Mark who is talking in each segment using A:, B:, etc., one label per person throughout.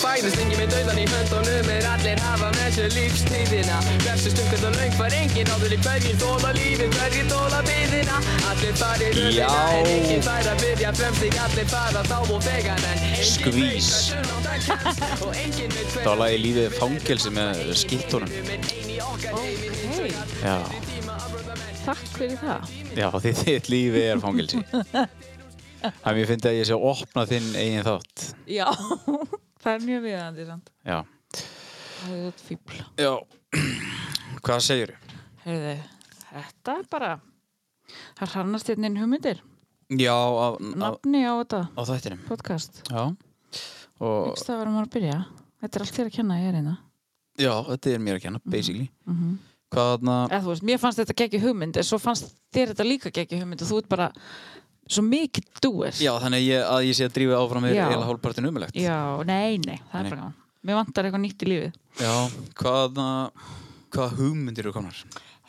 A: fæðist engin með dauðan í höndunum er allir hafa með sér lífstíðina Hversu stungast og laung var engin áður í hverjir þóla lífið, hverjir þóla byðina Allir farir röðina
B: Já.
A: en engin fær að byrja fremst í allir fara þá og vegan en engin
B: Skvís.
A: Það
B: Það var lagið Lífið fangelsi með skiltunum.
C: Ókei,
B: Já,
C: takk fyrir það.
B: já því þitt lífi er fangelsi. Það mér finnst að ég sé að opna þinn eigin þátt.
C: Já, það er mjög viðandi samt.
B: Já.
C: Það er þetta fíbl.
B: Já. Hvað segir þú?
C: Heyrðu, þetta er bara, það hrannast hérna inn hugmyndir.
B: Já, á, á,
C: Nafni á þetta
B: á þættinum.
C: podcast.
B: Já. Og,
C: Yngst það varum að byrja. Þetta er allt þér að kenna ég er hérna.
B: já, þetta er mér að kenna, basically.
C: Mhm.
B: Hvað þarna...
C: Eða þú veist, mér fannst þetta geggi hugmynd, en svo fannst þér þetta líka geggi hugmynd og þú ert bara svo mikið dúir.
B: Já, þannig að ég, að ég sé að drífa áfram með
C: Já.
B: eila hálfpartin umulegt.
C: Já, nei, nei, það
B: Nei.
C: er bara gaman. Mér vantar eitthvað nýtt í lífið.
B: Já, hvað, hvað hugmyndir eru komnar?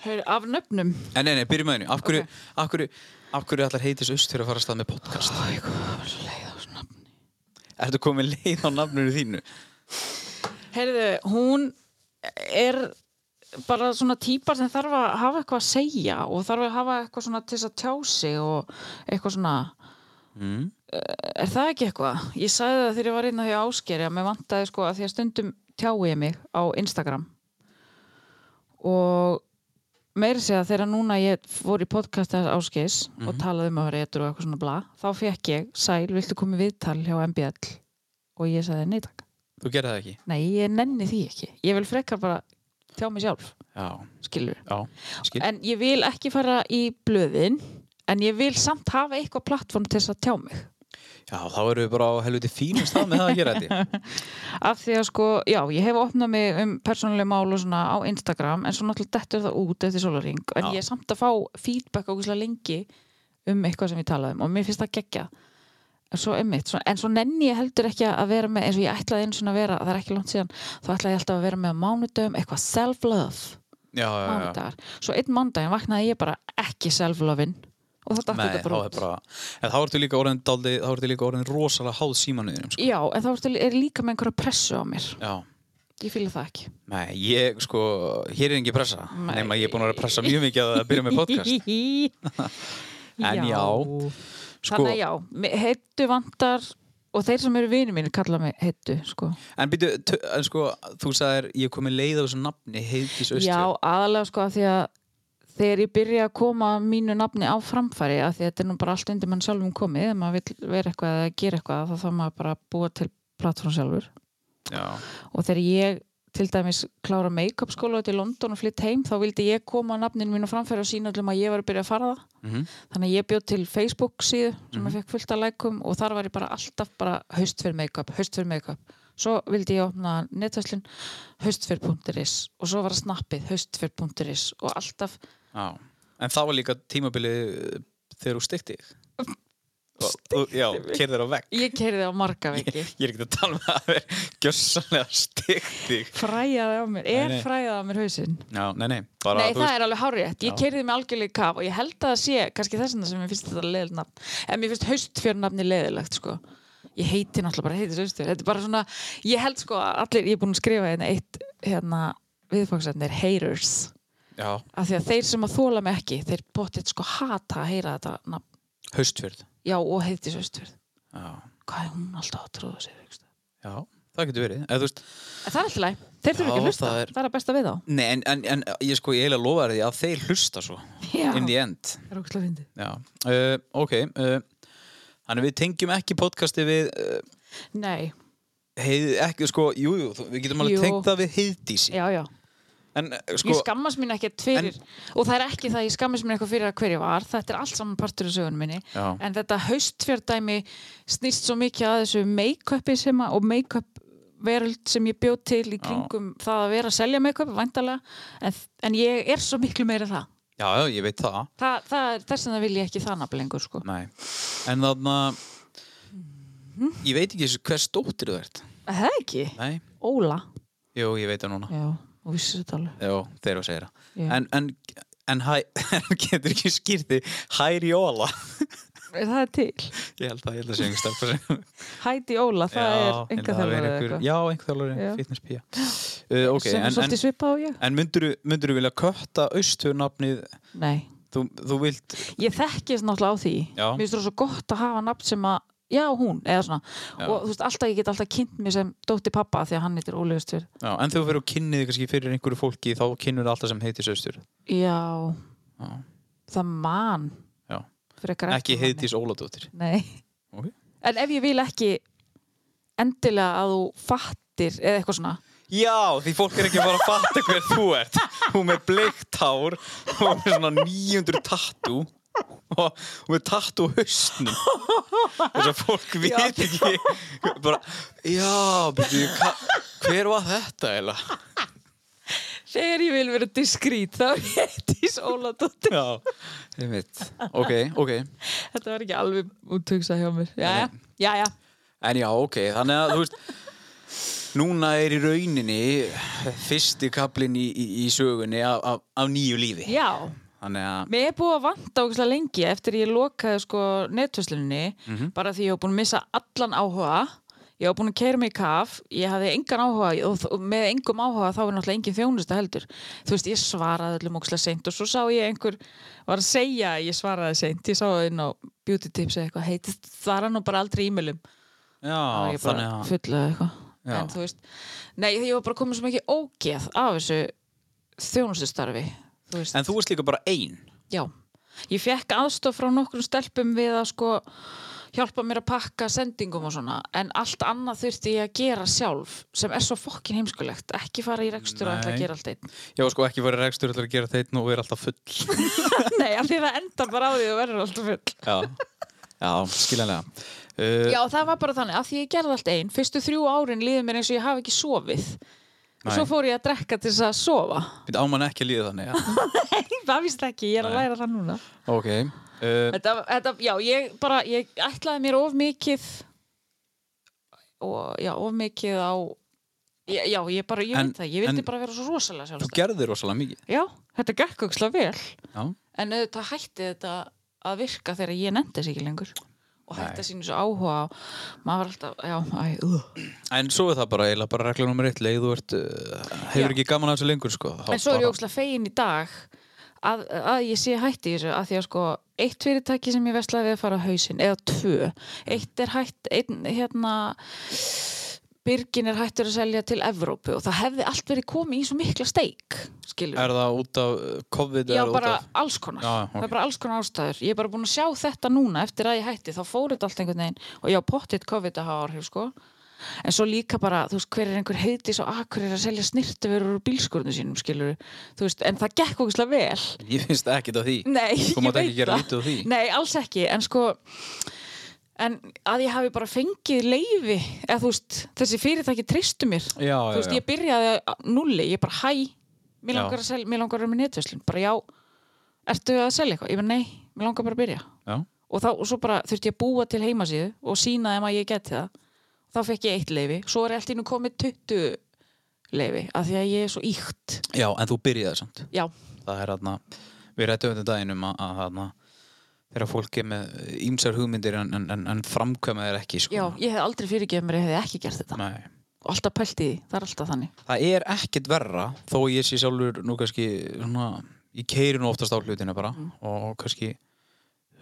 C: Hör, af nöfnum.
B: En nei, nei, byrjum með henni. Af hverju, af hverju, af hverju allar heitis aust fyrir að fara að stað með podcast?
C: Æ, hvað var svo leið á þessu nafni.
B: Ertu komið leið á nafnunu þínu?
C: Heyrðu, hún er bara svona típar sem þarf að hafa eitthvað að segja og þarf að hafa eitthvað svona til þess að tjá sig og eitthvað svona Eh,
B: Mm.
C: er það ekki eitthvað? Ég sagði það þegar ég var inn á því áskeri að mér vantaði sko að því að stundum tjái ég mig á Instagram og meiri segja þegar núna ég fór í podcast þess áskeis og talaði um að vera eitthvað og eitthvað svona bla þá fekk ég, sæl, viltu komið viðtal hjá MBL og ég sagði nei takk
B: Þú gerði það ekki?
C: Nei, ég nenni því ekki. Ég vil frekar bara tjá mig sjálf,
B: Já,
C: skilur.
B: já, skil.
C: En ég vil ekki fara í blöðin, en ég vil samt hafa eitthvað plattform til þess að tjá mig.
B: Já, þá eru við bara á helviti fínum stað með það að gera þetta.
C: Af því að sko, já, ég hef opnað mig um persónuleg mál og svona á Instagram, en svo náttúrulega dettur það út eftir solaring. En
B: Já.
C: ég er samt að fá feedback ákvæmstlega lengi um eitthvað sem ég talaði um og mér finnst það geggja. En svo, einmitt, svo, en svo nenni ég heldur ekki að vera með, eins og ég ætlaði eins og að vera, það er ekki langt síðan, þá ætlaði ég alltaf að vera með á mánudöfum, eitthvað self-love.
B: Já, já, já.
C: mánudagar. Svo einn mánudaginn vaknaði ég bara ekki self-lovin og það dætti
B: Nei,
C: þetta
B: þá
C: bara
B: er
C: út.
B: bara... En þá ertu líka orðin, daldi, þá ertu líka orðin rosalega háð símanuðinum, sko.
C: Já, en þá ertu- er líka með einhverja pressu á mér.
B: Já.
C: Ég fýla það ekki.
B: Nei, ég, sko, hér er engin pressa.
C: Nei.
B: Nei, ég er búin að vera að pressa mjög mikið að byrja með podcast. En já, sko-
C: Þannig að já, heittu vantar og þeir sem eru vinið mínir kalla mig heittu, sko.
B: En býtu, tö- en sko, þú sagðir, ég er komið leið á þessu nafni, heitis austri.
C: Já, aðalega sko að því að þegar ég byrja að koma mínu nafni á framfæri að því að þetta er nú bara allt undir mann sjálfum komið, ef maður vill vera eitthvað eða gera eitthvað, þá þá maður bara að búa til plattform sjálfur.
B: Já.
C: og þegar ég til dæmis klára make-up skóla til London og flytt heim þá vildi ég koma nafninu mínu framfæri og sína öllum að ég var að byrja að fara það
B: Mhm.
C: þannig að ég bjóð til Facebook síðu sem ég fekk fullt að lækum og þar var ég bara alltaf bara haust fyrir make-up, haust fyrir make-up svo vildi ég opna netvæslin haustfyrr.is og svo var það snappið haustfyrr.is og alltaf
B: Já, en það var líka tímabilið uh, þegar þú stikti Stikti Já, kerðir á vegg
C: ég kerði á marga veki
B: Ég er ekki að tala með að það er gjössanlega stikti
C: fræjaði á mér,
B: Nei,
C: er
B: nei.
C: fræjaði á mér hausinn
B: Já, nei, nei, bara
C: Nei,
B: þú
C: það er alveg hárétt. Ég
B: Já.
C: keiriði mig algjörlega í kaf og ég held að það sé, kannski þess vegna sem ég finnst þetta leiðilegt nafn. En mér finnst haustfjörnafni leiðilegt, sko. Ég heiti náttúrulega bara heitis haustfjörn. Þetta er bara svona, ég held sko að allir, ég er búin að skrifa hérna eitt, hérna, viðfangsefni er haters.
B: Já,
C: Af því að þeir sem að þóla mig ekki, þeir bóttið sko hata að heyra þetta nafn.
B: haustfjörð
C: Já, og heitis haustfjörn.
B: Já,
C: Hvað er hún alltaf að trúða sér, ekki?
B: já, það getur verið Eð, veist,
C: En það er alltaf leið. Þeir þurfa ekki
B: Já,
C: að hlusta.
B: það
C: Það
B: er-
C: er, það besta við þá.
B: Nei, en, en, en ég sko, ég eiginlega lofa þér því að þeir hlusta svo
C: Já,
B: In the end
C: það er ógslag fyndið.
B: Já, uh, ok uh, Þannig við tengjum ekki podcasti við uh,
C: Nei,
B: heið, ekki, sko, jú, jú, þú- við getum alveg
C: Jú.
B: tengt það við heiðdísi
C: já, já.
B: En uh,
C: ég
B: sko,
C: skammast mín ekkert fyrir og það er ekki það að ég skammast mín eitthvað fyrir að hverja var þetta er allt saman partur í sögunum minni
B: Já.
C: en þetta haustfjördæmi snýst svo mikið að þessu make-upi sem að, og make-up veröld sem ég bjóð til í kringum það að vera að selja make-up væntalega, en, en ég er svo miklu meira en það,
B: já, já, ég veit það
C: Þa, það er, þess vegna vil ég ekki það nafn lengur sko,
B: Nei, en þarna
C: Mhm.
B: Ég veit ekki hvers dóttir þú ert
C: Er það ekki
B: Nei,
C: Óla,
B: jú, ég veit það núna
C: já, og vissi þetta alveg
B: Jú, þeir eru að segja
C: Já.
B: það En, en, en hæ, getur ekki skýrti Hæri Óla
C: Er það til?
B: Ég held það, ég held það sé einhver stelpa sem
C: Heidi Óla, það
B: Já, ég
C: er
B: held að
C: enga
B: hafi verið
C: þjálfari
B: einhver-
C: eitthvað
B: Já, einhver þjálfari,
C: Já.
B: fitness pía uh, Ok,
C: sem er
B: en, en,
C: svolítið svipað á ég
B: en myndirðu, myndirðu vilja kötta austur nafnið
C: Nei,
B: Þú, þú vilt
C: ég þekkist náttúrulega á því
B: Já.
C: Mér finnst það svo gott að hafa nafn sem að Já, hún, eða svona
B: Já.
C: Og þú veist, alltaf, ég get alltaf kynnt mér sem dótti pappa Því að hann heitir Óli Östur
B: já, En þegar þú verður kynnið kannski fyrir einhverju fólki þá kynnur það alltaf sem heitis austur
C: Já,
B: Já.
C: það man
B: Já.
C: Frekar
B: Ekki
C: eftir manni.
B: heitis Óladóttir
C: Nei
B: Ok.
C: En ef ég vil ekki endilega að þú fattir eða eitthvað svona
B: Já, því fólk er ekki bara að fatta hver þú ert Hún með bleikt hár Hún með svona 900 tattú og hún með tattú á hausnum þess að fólk veit ekki bara, já, byrju hva- hver var þetta eða?
C: Þegar ég vil vera diskrít þá er ég Heiðdís Óladóttir
B: Já, ég veit Ok, ok,
C: Þetta var ekki alveg útugsa hjá mér Jæja, jæja
B: en já, ok þannig að, þú veist núna er í rauninni fyrsti kaplinn í, í, í sögunni af, af, af nýju lífi
C: Já,
B: þannig að,
C: mér er búið að vanta ógæslega lengi eftir ég lokaði sko netfjöslinni
B: Mhm.
C: bara því ég hef búin að missa allan áhuga ég hef búin að keira mig í kaf ég hafði engan áhuga og þ- og með engum áhuga þá er náttúrulega engin þjónusta heldur þú veist, ég svaraði öllum ógæslega seint og svo sá ég einhver var að segja að ég svaraði seint ég sá það inn á beauty tips eða eitthvað heitist þar hann og bara aldrei e-mailum
B: já,
C: já,
B: þannig að
C: fulla eitthvað
B: Já.
C: en þú veist, nei því ég var bara komið svo mikið ógeð af þessu þjónustustarfi þú veist.
B: En þú ert líka bara ein
C: Já, ég fekk aðstof frá nokkrum stelpum við að sko hjálpa mér að pakka sendingum og svona en allt annað þurfti ég að gera sjálf sem er svo fokkin heimskulegt ekki fara í rekstur og ætla
B: Nei.
C: að gera allt einn
B: Já, sko, ekki verið rekstur ætlar að gera þetta einn og vera alltaf full
C: Nei, af því það endar bara á því og verður alltaf full
B: Já, já skiljanlega uh,
C: Já, það var bara þannig, af því ég gerði allt einn fyrstu þrjú árin líði mér eins og ég hafi ekki sofið og
B: Nei.
C: svo fór ég að drekka til þess að sofa
B: Býtt ámann ekki að líða þannig já.
C: Það víst ekki, ég er að læra það núna
B: Ok uh,
C: þetta, þetta, Já, ég bara, ég ætlaði mér of mikið og já, of mikið á já, já ég bara, ég
B: En-
C: veit það, ég vildi
B: en-
C: bara vera svo rosalega
B: Þú
C: sjálfstæð
B: gerðir rosalega mikið
C: Já, þetta gekk aukslega vel
B: Já,
C: en auðvitað hætti þetta að virka þegar ég nefndi þess ekki lengur og
B: Nei.
C: hætti að sínu svo áhuga á maður var alltaf, já, æ, uh.
B: En svo er það bara eiginlega bara regla nummer eitt leið þú ert, uh, hefur
C: Já.
B: ekki gaman að þessu lengur sko, þá
C: en svo er ég
B: bara-
C: aukslega fegin í dag að, að ég sé hætti í þessu að því að sko, eitt fyrirtæki sem ég veslaði við að fara á hausinn, eða tvö eitt er hætt, einn, hérna Birgin er hættur að selja til Evrópu og það hefði allt verið komið í svo mikla steik skilur
B: Er það út af uh, COVID
C: Já,
B: eða út
C: bara
B: af...
C: alls konar.
B: Já, já,
C: Það
B: ok.
C: er bara alls konar ástæður. Ég er bara búin að sjá þetta núna eftir að ég hætti. Þá fór þetta allt einhvern veginn og já, pottitt COVID að hafa áhrif, sko. En svo líka bara, þú veist, hver er einhver heitis og akkur er að selja snirtuverur úr bílskurnu sínum, skilur Þú veist, en það gekk ógislega vel.
B: Ég finnst ekkert á því
C: Nei,
B: Þú
C: ég
B: mátt
C: veit
B: ekki gera
C: það.
B: lítið á því
C: Nei, alls ekki, en sko en að ég hafi bara fengið leifi, eða þú veist þessi fyrirtæki treystu mér
B: Já, já,
C: þú veist,
B: já.
C: ég byrjaði á núli, ég bara hæ mér
B: Já.
C: langar að selja, mér langar að vera með netverslun bara já, ertu að selja eitthvað? Ég bara nei, mér langar bara að byrja
B: Já,
C: og þá, og svo bara þurfti ég að búa til heimasíðu og sína þeim að ég geti það þá fekk ég eitt leifi, svo er allt innum komið 20 leifi, af því að ég er svo íkt
B: já en þú byrjaði samt
C: já,
B: það er hérna við rættum þetta daginn um að, að hérna þegar fólk er með ímsar hugmyndir en, en, en, en framkvæma þeir ekki sko.
C: já, ég hef aldrei fyrirgefið mér, ef ég hef ekki gert þetta
B: Nei.
C: og alltaf pælt í því, það er alltaf þannig
B: það er ekkert verra þó ég sé sjálfur nú kannski svona, ég keiri nú oftast á hlutina bara
C: Mm.
B: og kannski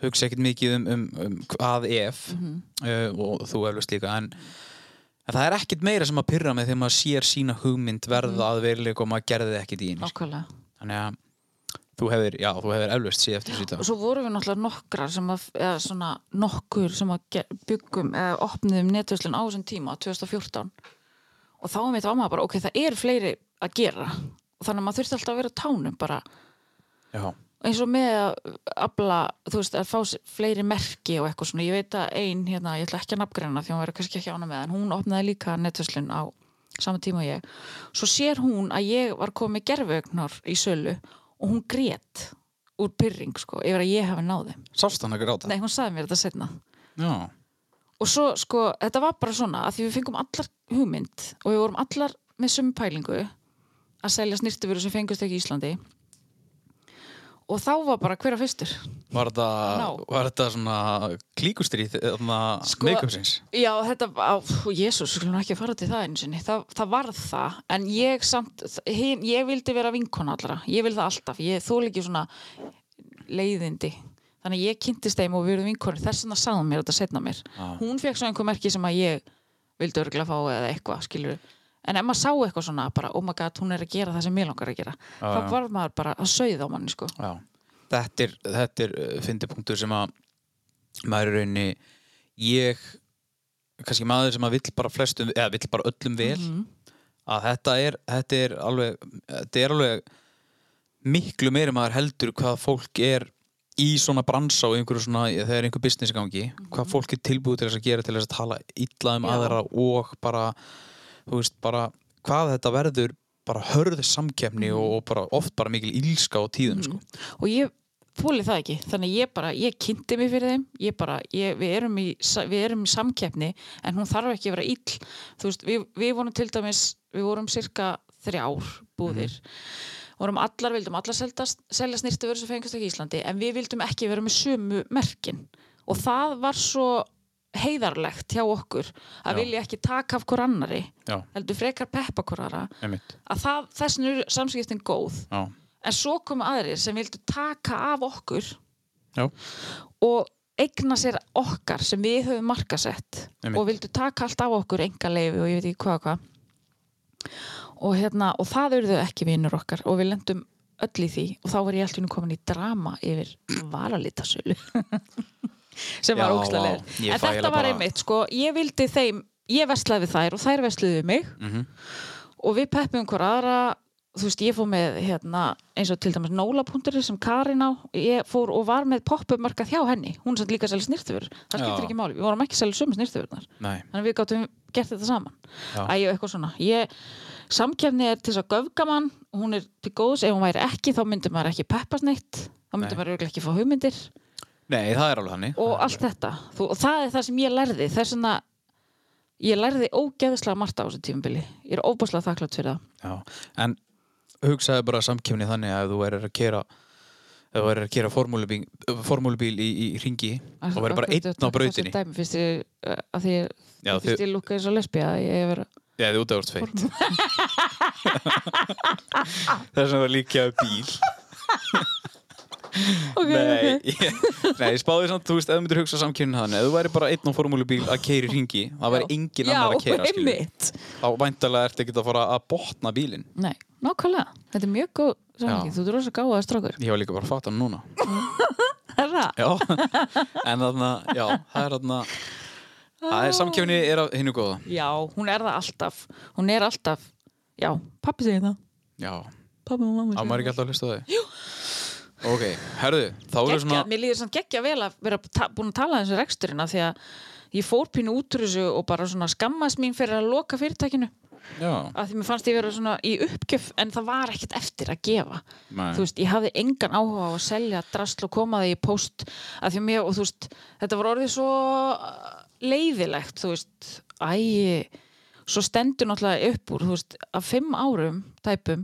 B: hugsa ekkert mikið um, um, um hvað ef
C: Mhm.
B: uh, og þú eflust líka en, en það er ekkert meira sem að pyrra með þegar maður sér sína hugmynd verða
C: Mhm.
B: að veruleika og maður gerði ekkert í henni sko.
C: nákvæmlega
B: þannig að þú hefur, já, þú hefur eflust séð eftir sýta
C: og svo vorum við náttúrulega nokkrar sem að, eða svona nokkur sem að ge- byggum eða opniðum netverslun á þessum tíma 2014 og þá mitt var maður bara, ok, það er fleiri að gera og þannig að maður þurfti alltaf að vera á tánum bara
B: já,
C: eins og með að abla, þú veist, að fá sér fleiri merki og eitthvað svona, ég veit að ein hérna, ég ætla ekki að nafngreina því hún verður kannski ekki ána með það, en hún opnaði líka netverslun á sama tíma og ég, svo sér hún að ég var komið gerfugnar í sölu og hún grét úr pyrring, sko, yfir að ég hafi náði
B: sást hann að gráta
C: nei, hún sagði mér þetta setna
B: já,
C: og svo, sko, þetta var bara svona að því við fengum allar hugmynd og við vorum allar með sömu pælingu að selja snirtifuru sem fengust ekki í Íslandi og þá var bara hver að fyrstur
B: Var þetta,
C: Ná.
B: var þetta svona klíkustríð
C: Sko-
B: meikupsins?
C: Já, þetta, á, jésús, skulum ekki fara til það einu sinni, Þa, það varð það, en ég samt, hin, ég vildi vera vinkona allra, ég vil það alltaf, ég þóla ekki svona leiðindi, þannig að ég kynntist þeim og við erum vinkonur, þess vegna sagði hún mér þetta setna mér,
B: Já.
C: hún fekk svo einhver merki sem að ég vildi örgla fá eða eitthvað, skilur en ef maður sá eitthvað svona bara, oh my god, hún er að gera það sem mér langar að gera,
B: Já,
C: þá
B: já.
C: varð maður bara að sauða á manni, sko.
B: Já. Þetta er, þetta er fyndipunktur sem að maður er raunni ég, kannski maður sem að vill bara flestum, eða vill bara öllum vel
C: Mhm.
B: að þetta er, þetta er alveg, þetta er alveg miklu meiri maður heldur hvað fólk er í svona bransa og einhverju svona, þegar er einhver business í gangi, hvað fólk er tilbúið til þess að gera til þess að tala illa um
C: Já.
B: aðra og bara, þú veist, bara hvað þetta verður bara hörð samkefni og bara oft bara mikil ílska á tíðum, sko.
C: og ég fóli það ekki þannig að ég bara, ég kynnti mig fyrir þeim ég bara, ég, við, erum í, sa- við erum í samkeppni en hún þarf ekki að vera ill þú veist, við, við vorum til dæmis við vorum cirka þrjár búðir
B: Mhm.
C: vorum allar, vildum allar seldast, selja snirtu sem fengast ekki í Íslandi en við vildum ekki vera með sömu merkin og það var svo heiðarlegt hjá okkur
B: Já.
C: að vilja ekki taka af hver annari
B: Já,
C: heldur frekar peppa hver annara
B: einmitt.
C: að það, þessin eru samskiptin góð
B: Já.
C: en svo komu aðrir sem vildu taka af okkur
B: Já.
C: og eigna sér okkar sem við höfum markasett
B: Einmitt.
C: og vildu taka allt af okkur engaleifi og ég veit ekki hvað og hvað og, hérna, og það urðu ekki vinnur okkar og við lendum öll í því og þá var ég alltaf komin í drama yfir varalitasölu sem var
B: Já,
C: ókslega
B: vá.
C: leið
B: Ég
C: en
B: fæ
C: þetta
B: eiginlega
C: var
B: bara-
C: einmitt sko, ég vildi þeim, ég verslaði við þær og þær versluði við mig
B: Mhm.
C: og við peppum hver aðra þú veist, ég fór með hérna, eins og til dæmis nólapunkturinn sem Karin á ég fór og var með poppup markað hjá henni hún satt líka að selja snirtuverur, það skiptir
B: Já.
C: ekki máli við vorum ekki að selja sömu snirtuverurnar
B: Nei,
C: þannig að við gáttum gert þetta saman
B: Já.
C: Æ, og eitthvað svona ég, samkefni er til þess að göfga mann hún er til góðs, ef hún væri ekki þá myndi maður ekki peppast neitt þá myndi
B: Nei.
C: maður örugglega ekki fá hugmyndir
B: Nei, það er alveg hannig.
C: og allt þetta Þú, og það er það sem ég lærði þess vegna ég lærði ógeðslega margt á þessu tímabili ég er óbúslega þakklátt fyrir það
B: Já. En hugsaðu bara samkjöfni þannig að ef þú verður að kera ef þú verður að kera formúlubíl, formúlubíl í, í ringi og verður bara
C: Akkur-
B: einn á
C: akkur-
B: brautinni
C: þessu dæmi, finnst ég, uh, að því ég-
B: Já,
C: finnst
B: þau-
C: ég lúka eins og lesbía að ég vera
B: eða þú út af úr tveitt þess að það líka bíl
C: ok,
B: Nei, ég, nei, ég spáði samt, þú veist, ef þú myndir hugsa samkynnin þannig, ef þú væri bara einn á formúlubíl að keiri ringi, það væri engin annar að keira, skilur við.
C: einmitt
B: þá væntalega ertu ekki að fara að botna bílinn.
C: nei, nákvæmlega, þetta er mjög góð samhengi,
B: Já.
C: þú ert rosa gáða strókur
B: Ég var líka bara að fatta hann núna.
C: herra,
B: Já, en þarna, já, það er þarna,
C: Ah.
B: það er samkjöfni er af hinnu góða.
C: já, hún er það alltaf hún er alltaf, já, pappi segir það
B: Já,
C: pappi og mamma
B: á maður ekki
C: segir það
B: alltaf að hlusta á þau. Jú. Ok, herðu, þá eru
C: Gekkja,
B: svona,
C: mér líður samt geggja vel að vera ta- búin að tala þessu reksturina því að ég fór pínu út úr þessu og bara svona skammast mín fyrir að loka fyrirtækinu
B: já,
C: að því mér fannst ég vera svona í uppgjöf en það var ekkert eftir að gefa
B: Nei.
C: þú veist, ég hafði engan áhuga á að selja drasl og koma því í post að því að mér, og þú veist, þetta var orðið svo uh, leiðilegt, þú veist æ, svo stendur náttúrulega upp úr, þú veist, að fimm árum tæpum,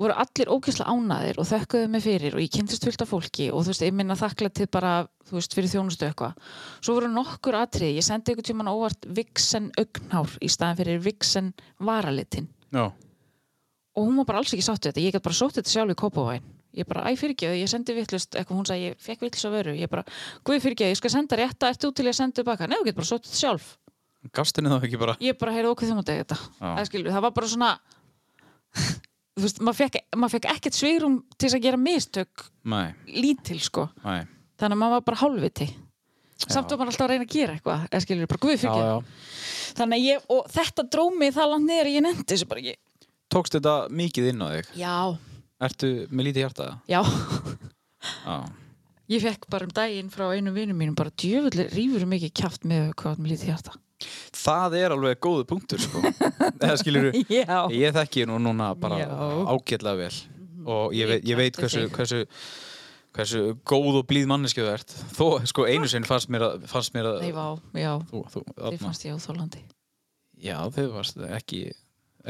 C: voru allir ógeðslega ánaðir og þökkuðu mig fyrir og ég kynntist fullt af fólki og þú veist, ég minna þakklætt til bara, þú veist, fyrir þjónustu eitthvað svo voru nokkur atrið, ég sendi einhvern tímann óvart Vixen augnhár í staðan fyrir Vixen varalitin
B: já,
C: og hún var bara alls ekki sátt við þetta, ég gæti bara sótt þetta sjálf í Kópavæn ég bara, æ fyrirgjöðu, ég sendi vittlust eitthvað hún sagði, ég fekk vittlust á vöru ég bara, guð fyrirgjöðu, ég skal senda rétta, ert þú til ég að senda tilbaka nei, þú getur bara sótt þetta sjálf
B: gastinu þá ekki bara,
C: ég bara heyrði okkur þjóma degi þetta
B: Já.
C: það, skilur, það var bara svona þú veist, maður fekk, maður fekk ekkert svigrum til þess að gera mistök
B: nei,
C: lítil sko,
B: nei.
C: þannig að maður var bara hálfviti samt
B: Já.
C: var maður alltaf að reyna að gera eitthvað eða skilur, bara guð
B: Já,
C: fyrirgjöðu
B: já.
C: þannig að ég, og þetta dró mig það langt niður að ég nefndi þessu bara ekki
B: Tókst þetta mikið inn á þig?
C: já,
B: Ertu með lítið hjartaða?
C: já
B: Já.
C: Ég fekk bara um daginn frá einu vinum mínum bara djöfullir rífur mikið kjátt með hvað með lítið hjarta.
B: Það er alveg góðu punktur, sko. Eða skilur,
C: Já.
B: ég þekki nú núna bara
C: Já. Mhm.
B: ágætlega vel og ég,
C: Ég
B: veit- ég veit
C: þekki
B: hversu,
C: þig.
B: hversu hversu góð og blíð manneskja þú ert þó, sko, einu sinn fannst mér að, fannst mér að
C: Nei, vá, já,
B: þú, þú,
C: þið
B: þarna,
C: fannst ég óþólandi.
B: já, þau varst ekki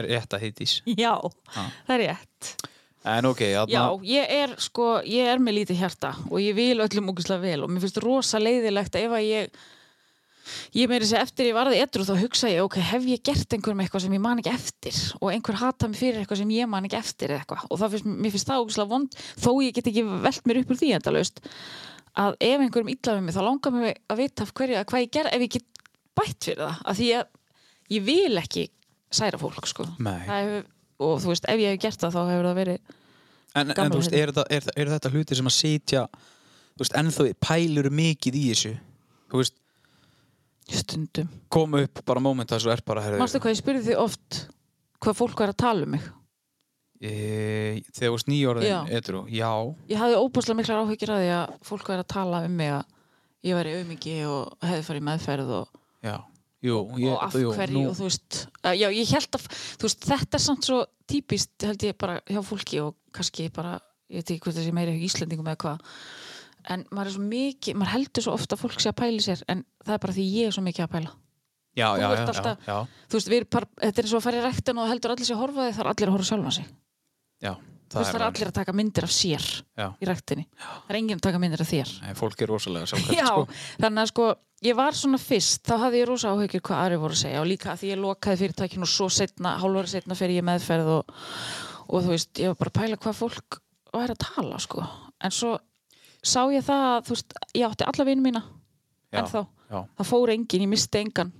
B: rétt að heitís
C: Já,
B: Já.
C: það er rétt.
B: En ok,
C: Já,
B: þarna,
C: ég er sko, ég er með lítið hjarta og ég vil öllum ógæslega vel og mér finnst rosa leiðilegt ef að ég ég meiri þess að eftir ég varði edru þá hugsa ég, ok, hef ég gert einhverjum eitthvað sem ég man ekki eftir og einhver hata mig fyrir eitthvað sem ég man ekki eftir eða eitthvað og það finnst, mér finnst það ógæslega vond þó ég get ekki velt mér upp úr því endalaust að ef einhverjum illa við mig þá langar mér að vita af hverju, hvað ég ger ef ég get bætt fyrir það, af því að ég vil ekki særa fólk sko.
B: Nei.
C: Það hefur, og þú veist, ef ég hef gert það þá hefur það verið
B: en, en
C: gamla
B: þú veist,
C: hérna.
B: er þetta, er, er þetta hluti sem að sitja, þú veist, ennþá pælur mikið í þessu, þú veist,
C: stundum
B: koma upp bara móment að þessu er bara, herðu,
C: Mástu hvað ég spurði þig oft hvað fólk var að tala um mig
B: e, þegar þú veist nýjórðin,
C: Já.
B: eitthvað, já,
C: Ég hafði óbúslega miklar áhyggjur að því að fólk var að tala um mig að ég var í auðmingi og hefði farið í meðferð og,
B: já, jú, ég,
C: og af
B: jú,
C: hverju
B: nú,
C: og þú veist, að, já, ég held að þú veist, þetta er samt svo típist held ég bara hjá fólki og kannski bara ég veit ekki hvort það sé meira hjá Íslendingum eða hvað en maður er svo mikið, maður heldur svo ofta að fólk sé að pæli sér en það er bara því ég er svo mikið að pæla
B: já,
C: þú
B: já, já,
C: ert
B: já,
C: alltaf-
B: já,
C: þú veist, við erum bara, þetta er svo að fara í rektin og það heldur allir sér að horfa á þig, það er allir að horfa á sjálfa sig
B: já,
C: þú veist, það er
B: alveg-
C: allir að taka myndir af sér
B: Já.
C: í ræktinni, það er enginn að taka myndir af þér
B: Nei, fólk er rosalega sjálfkvæmt,
C: Já,
B: sko.
C: þannig að sko ég var svona fyrst, þá hafði ég rosa áhyggjur hvað aðri voru að segja og líka að því ég lokaði fyrirtækinu og svo setna, hálfari setna fer ég í meðferð og, og þú veist, ég var bara að pæla hvað fólk væri að tala sko, en svo sá ég það að þú veist, ég átti alla vinn mína
B: Já,
C: ennþá,
B: já.
C: það fór engin, ég misti engan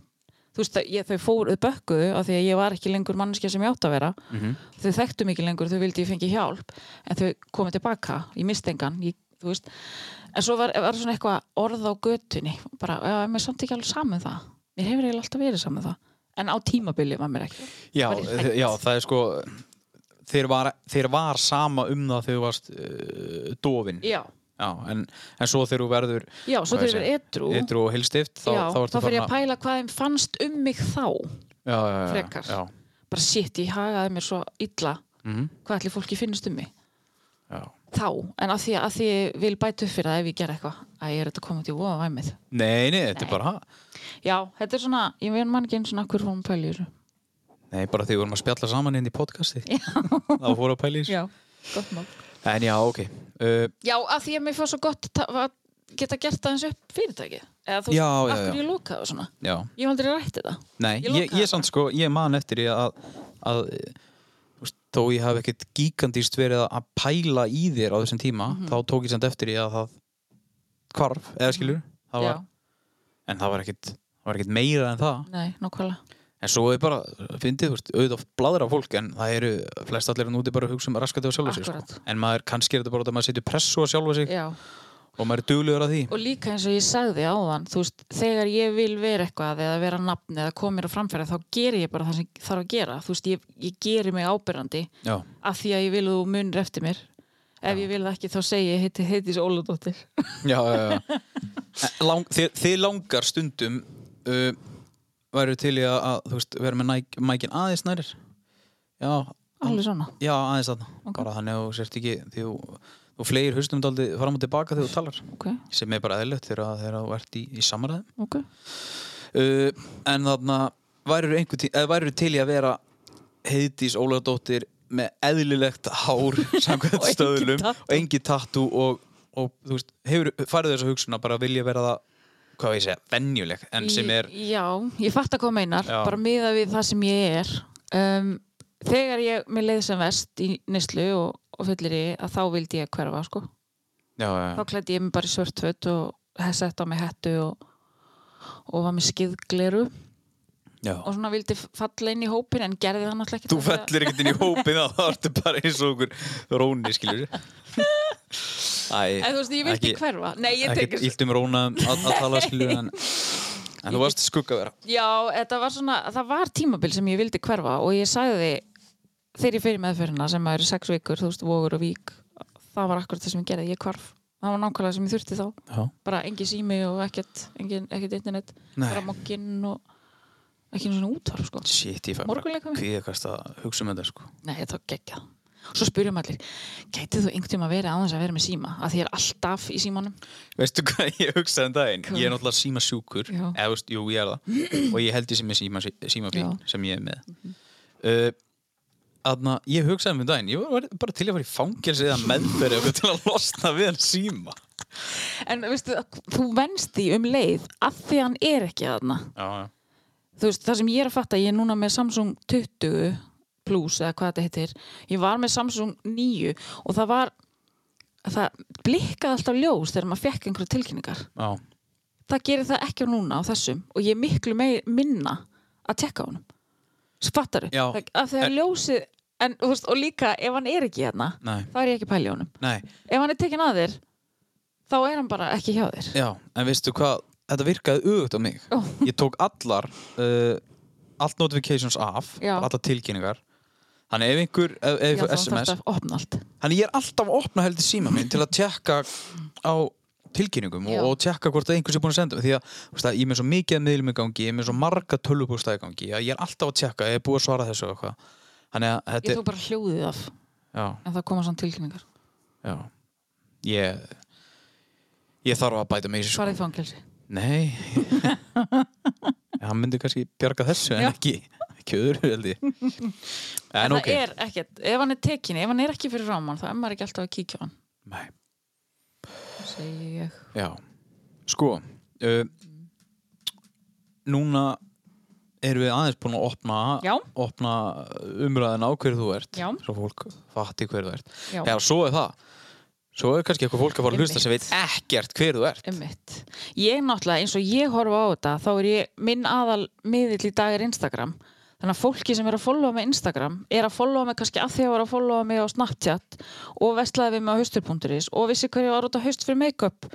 C: þú veist, ég, þau fóruð bökkuðu af því að ég var ekki lengur manneskja sem ég átt að vera
B: Mhm.
C: þau þekktu mikið lengur, þau vildi ég fengi hjálp en þau komið tilbaka, ég misti engan ég, þú veist, en svo var, var svona eitthvað orð á götunni bara, já, mér er samt ekki alveg saman það mér hefur eiginlega alltaf verið saman það en á tímabili var mér ekki
B: Já,
C: Var ég hrædd?
B: já, það er sko þeir var, þeir var sama um það þegar þú varst uh, dofin
C: já,
B: en, en svo þegar þú verður
C: já svo
B: hvað
C: þegar
B: ég
C: ég verið edru
B: ytru og heilstift þá,
C: já,
B: þá
C: þá,
B: ertu
C: fer
B: farin
C: ég að pæla hvað þeim fannst um mig þá
B: já, já, já,
C: frekar.
B: já,
C: bara sitt, ég hagaði mér svo illa
B: Mhm.
C: hvað allir fólki finnst um mig
B: já.
C: þá, en að því að því ég vil bæta upp fyrir það ef ég ger eitthvað að ég er þetta komið til voða væmið
B: Nei, nei, þetta er bara
C: já, þetta er svona, ég veit mann ekki eins og hver fórum pæli í þessu
B: Nei, bara þegar við vorum að spjalla saman inn í podcasti þá fóru að pæli í þessu.
C: Já, gott mál.
B: En já, ok uh,
C: Já, að því að mér fór svo gott ta- að geta gert aðeins upp fyrirtækið. Eða þú
B: Já, já,
C: af
B: já.
C: hverju ég lokaði og svona.
B: Já,
C: Ég hef aldrei rætti það.
B: nei,
C: Ég
B: ég, ég,
C: lokaði
B: samt sko ég man eftir því að, að eh, þú veist, þó ég hafi ekkert gíkandíst verið að- að pæla í þér á þessum tíma
C: Mhm.
B: þá tók ég samt eftir því að það hvarf, eða skilur það var,
C: Mhm. Já,
B: en það var ekkert það var ekkert meira en það
C: nei, nokkvæmlega.
B: en svo er bara, fyndið, þú veist, auðvitað bladra fólk en það eru, flest allir en úti bara að hugsa um raskatið á sjálfa sig sko.
C: Akkúrat.
B: en maður kannski er þetta bara út að maður setur pressu á sjálfa sig
C: Já,
B: og maður er duglegur að því
C: og líka eins og ég sagði áðan, þú veist, þegar ég vil vera eitthvað eða vera nafn eða koma mér á framfæri þá gerir ég bara það sem þarf að gera. Þú veist, ég, ég gerir mig ábyrrandi
B: já,
C: af því að ég vil að þú munir eftir mér. Ef ég vil það ekki þá segi ég heiti heitis Óladóttir.
B: já, já, já. En Lang, þið, þið langar stundum uh, væru til í að, að þú veist, vera með næk, mækin aðeins nærir já,
C: Alveg svona.
B: já, aðeins þarna bara þannig að þú sért ekki því þú, þú fleir haustum daldið fram og tilbaka þegar þú talar
C: Ok,
B: sem er bara eðlögt þegar þegar þú ert í, í samræðum
C: ok.
B: uh, en þarna værið einhver tí- eða værið til í að vera heiðdís Ólaðdóttir með eðlilegt hár samkvæmt
C: Og engin
B: stöðlum
C: tattú.
B: og engi tattu og, og þú veist, hefur farið þess að hugsun að bara vilja vera það hvað á ég að segja, venjuleg en sem er,
C: Í- Já, ég fatt að hvað þú meinar,
B: Já.
C: bara miða við það sem ég er um, Þegar ég, mér leiði sem vest í neslu og, og fyllir ég að þá vildi ég hverfa sko.
B: já, já,
C: Þá
B: já,
C: klæddi ég mig bara í svört fött og sett á mig hettu og, og var með skýðgleru og
B: já.
C: svona vildi f- falla inn í hópin en gerði það náttúrulega ekki
B: þú fellir ekkert inn í hópin að það ertu bara eins og okkur róni, skilur Æ,
C: En þú veist, ég vildi
B: ekki-
C: hverfa Nei, ég
B: ekkert
C: tekist
B: ílt um róna að, að tala skilur en, en þú varst skugga vera
C: Já, þetta var svona, það var tímabil sem ég vildi hverfa og ég sagði þegar ég fyrir meðferðina sem að eru sex vikur, þú veist, vogur og vík það var akkurat það sem ég gerði, ég hvarf það var nákvæmlega sem ég þurfti þá,
B: já,
C: bara engin sími og ekkert, engin, ekkert internet
B: Nei.
C: bara mokkinn og ekki einu svona útvarf, sko
B: shit, ég fæ
C: Morgunleikum?
B: kvíðakast að hugsa um þetta sko.
C: Nei, þetta var geggjað. Svo spyrjum allir, gætið þú einhvern tíma að vera á þess að vera með síma að því ég er alltaf í símanum
B: veistu hvað ég hugsaði um daginn
C: Hvað?
B: ég er náttúrulega síma sjúkur
C: Já.
B: eða, þú veist, jú, ég er það og ég held ég sem er síma, síma
C: Já.
B: sem ég er með uh, Þarna, ég hugsaði um daginn, ég var bara til að fara í fangelsi eða meðferði okkur til að losna við hann síma.
C: En veistu, þú venst því um leið af því að hann er ekki þarna.
B: Já, já.
C: Þú veist, það sem ég er að fatta, ég er núna með Samsung 20 Plus eða hvað þetta heitir. Ég var með Samsung 9 og það var, það blikkaði alltaf ljós þegar maður fekk einhverja tilkynningar.
B: Já,
C: Það gerir það ekki á núna á þessum og ég er miklu meir, minna að tekka á honum. Spattar
B: Já.
C: Það, af því að
B: En-
C: ljósið, en, þú veist, og líka ef hann er ekki þarna,
B: nei,
C: þá er ég ekki að pæla í honum.
B: nei,
C: Ef hann er tekinn að þér, þá er hann bara ekki hjá þér.
B: já, en veistu hvað, þetta virkaði auðvitað á mig.
C: Ó.
B: Ég tók allar, uh, allt notifications af,
C: Já.
B: bara allar tilkynningar. Þannig ef einhver, ef, ef
C: Já, þá
B: SMS,
C: þarftu að opna allt.
B: þannig ég er alltaf að opna heldur síma minn til að tjekka á tilkynningum
C: Já.
B: og, og tjekka hvort að einhvers er búin að senda mig. því að, þú veist að ég er með svo mikið að miðlum í gangi, ég er með svo marga tölvupústa í gangi að ég er alltaf að tjekka, ég er búið að svara þessu og eitthvað þannig að
C: Ég
B: þetta
C: tók bara hljóðið af
B: já,
C: en það koma svona tilkynningar.
B: já. Ég, ég þarf að bæta mig í þessu sko.
C: Svarið fangelsi.
B: nei hann myndi kannski bjarga þessu en
C: Já.
B: ekki, ekki öðru held ég
C: En
B: en ok,
C: það er ekkert, ef hann er tekin, ef hann er ekki fyrir ráman, þá er maður ekki alltaf að kíkja á hann.
B: nei
C: Það segi ég.
B: Já, sko uh, Núna erum við aðeins búin að opna,
C: Já.
B: opna umræðina á hverju þú ert
C: Já.
B: svo fólk fatti hverju þú ert
C: Já.
B: Já, svo er það Svo er kannski eitthvað fólk að fara að hlusta sem veit
C: Einmitt.
B: ekkert hverju þú ert
C: Ummitt. Ég náttúrulega, eins og ég horfa á þetta, þá er ég, minn aðal miðill í dag er Instagram. Þannig að fólki sem er að followa með Instagram er að followa mig kannski af því að var að followa mig á Snapchat og vestlaði við mig á haustur.is og vissi hverju var út á haust fyrir make-up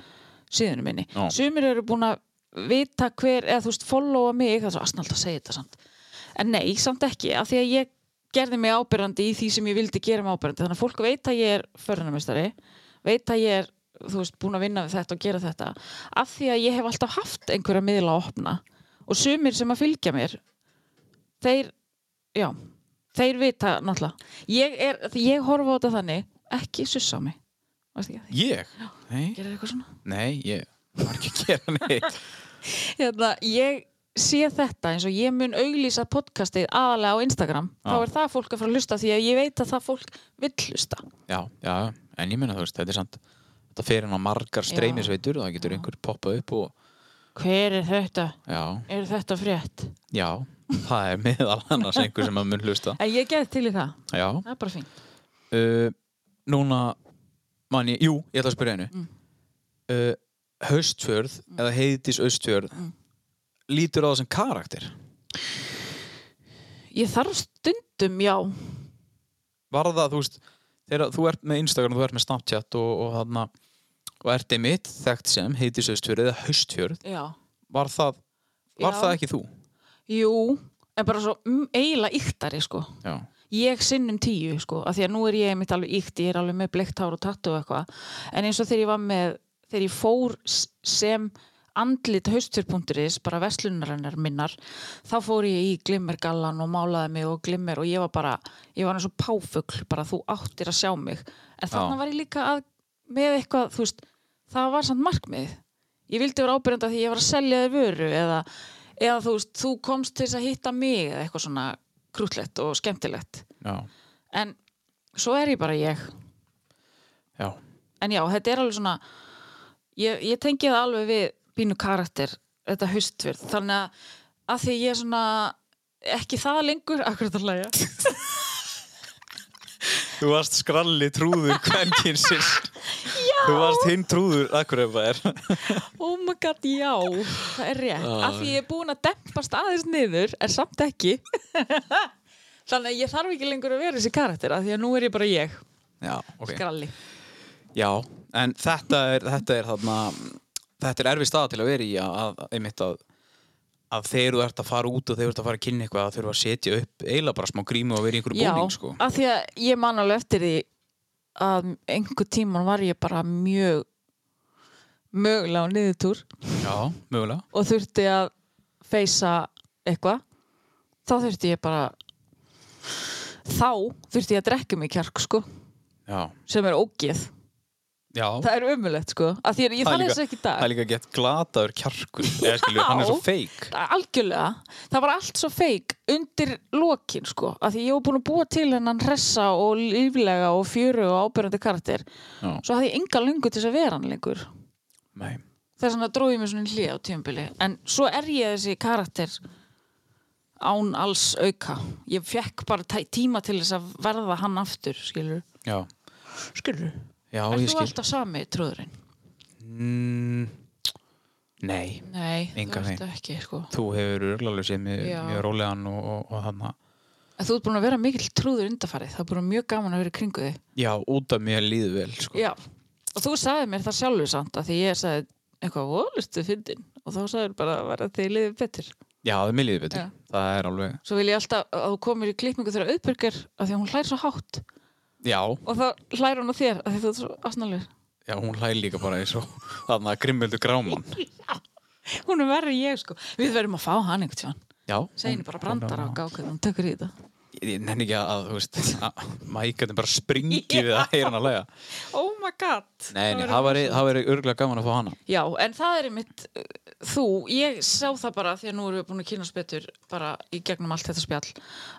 C: síðunum minni.
B: Já.
C: Sumir eru búin að vita hver, eða þú veist, followa mig, það er svo asnald að segja þetta samt. En nei, samt ekki, af því að ég gerði mig ábyrrandi í því sem ég vildi gera mig ábyrrandi. Þannig að fólk veit að ég er förunarmestari, veit að ég er, þú veist, búin að vinna við þetta og gera þetta. Af því að ég hef alltaf haft einhverja miðla að opna og sumir sem að fylgja mér, þeir, já, þeir vita náttúrulega. Ég er, því ég horfa á þetta þannig, ekki sussa á mig. Varst ekki að því?
B: Ég? Nei,
C: Gerir eitthvað svona?
B: nei, ég var ekki að gera neitt
C: hérna, ég sé þetta eins og ég mun auglýsa podcastið aðalega á Instagram þá
B: Já.
C: er það fólk að fara að hlusta því að ég veit að það fólk vill hlusta
B: Já, já, en ég meina þú veist, þetta er samt Þetta fer hann á margar streymisveitur og það getur einhver poppað upp og
C: hver er þetta?
B: já,
C: Er þetta frétt?
B: já, það er meðal annars einhver sem að mun hlusta
C: En ég gerði til í það,
B: Já,
C: það er bara fínt
B: uh, núna man ég, jú, ég ætla að spyrja einu
C: Mm.
B: uh, Haustfjörð eða heiðdís austfjörð
C: Mm.
B: lítur á það sem karakter
C: Ég þarf stundum, já
B: var það, þú veist, þegar þú ert með Instagram þú ert með Snapchat og, og þarna og ert einmitt þekkt sem heiðdís austfjörð eða haustfjörð,
C: Já,
B: var það var
C: Já.
B: það ekki þú?
C: jú en bara svo mm, eiginlega yktari sko
B: Já,
C: ég sinnum tíu sko, af því að nú er ég mitt alveg ykt, ég er alveg með bleikt hár og tattu og eitthvað, en eins og þegar ég var með þegar ég fór s- sem andlit haustur.is bara verslunarinnar minnar, þá fór ég í glimmergallan og málaði mig og glimmer og ég var bara, ég var eins og páfugl bara þú áttir að sjá mig en þannig var ég líka að með eitthvað, þú veist, það var samt markmið ég vildi vera ábyrjandi af því ég var að selja þér vöru eða, eða þú veist, þú komst til þess að hitta mig eða eitthvað svona krútlegt og skemmtilegt
B: já,
C: en svo er ég bara ég
B: já
C: en já, þetta er alveg svona ég, ég tengi það alveg við pínu karakter, þetta haustverð þannig að, að því að ég er svona ekki það lengur akkurat að læja
B: Þú varst skralli trúður kvenkinsins Já Þú varst hinn trúður, akkur ef það er
C: oh my god, já, það er rétt
B: Já.
C: að því ég er búin að dempast aðeins niður en samt ekki þannig að ég þarf ekki lengur að vera þessi karakter að því að nú er ég bara ég
B: Já, ok
C: skralli
B: Já, en þetta er, þetta er þarna þetta er erfið staða til að vera í að, að einmitt að að þegar þú ert að fara út og þegar þú ert að fara að kynna eitthvað að þurfa að setja upp eiginlega bara smá grímu og vera í einhverju búning sko.
C: af því að ég man alveg eftir því að einhver tíman var ég bara mjög mögulega á niðurtúr
B: Já, mögulega
C: og þurfti að feysa eitthvað þá þurfti ég bara þá þurfti ég að drekka mig kjark sko
B: Já,
C: sem er ógeð
B: Já,
C: það er umulegt sko að því að ég
B: það er
C: þarf
B: líka-
C: þess ekki í dag
B: það er líka gett glataður kjarkur eða skilju, hann er svo feik
C: algjörlega, það var allt svo feik undir lokin sko af því ég var búin að búa til hennan hressa og líflega og fjöru og ábyrjandi karakter
B: Já.
C: svo hafði ég enga lungu til þess að vera hann lengur
B: Nei,
C: þess vegna dróði ég mér svona hlið á tímabili en svo er ég þessi karakter án alls auka ég fekk bara tæ- tíma til þess að verða hann aftur skilur,
B: já,
C: skilur.
B: já,
C: er
B: ég
C: þú
B: skil
C: alltaf sami trúðurinn?
B: mm, Nei,
C: Nei,
B: Engan
C: þú
B: veginn.
C: ert ekki sko.
B: þú hefur örglalur séð mjög,
C: Já.
B: mjög rólegan og, og, og þannig
C: En þú ert búin að vera mikill trúður undarfarið. Það er búin að vera mjög gaman að vera í kringu þig.
B: Já, út af mér líðu vel sko.
C: Já. Og þú sagði mér það sjálfur samt að því ég sagði eitthvað volistu fyndin og þá sagði bara að vera að þið liðið betur.
B: Já, það er mér líðu betur
C: Já.
B: Það er alveg,
C: Svo vil ég alltaf að þú komir í klippingu þegar auðbyrgar að því að hún hlær svo hátt
B: já,
C: og þá hlær hún á þér að því þú ert svo asnalur.
B: já, hún hlæði líka bara eins og þannig að grimmildu gráman
C: Hún er verri en ég sko. Við verðum að fá hann einhvern tíðan.
B: Já,
C: Segin bara brandara og gákuð, hún tekur í þetta.
B: Ég ég nenni ekki að, þú veist, að mækarnir bara springi við að heyra hann að læga
C: Oh my god.
B: Nei, nei, það væri- það væri örgulega gaman að fá hana
C: Já, en það er einmitt uh, þú, ég sá það bara því að nú erum við búin að kynast betur bara í gegnum allt þetta spjall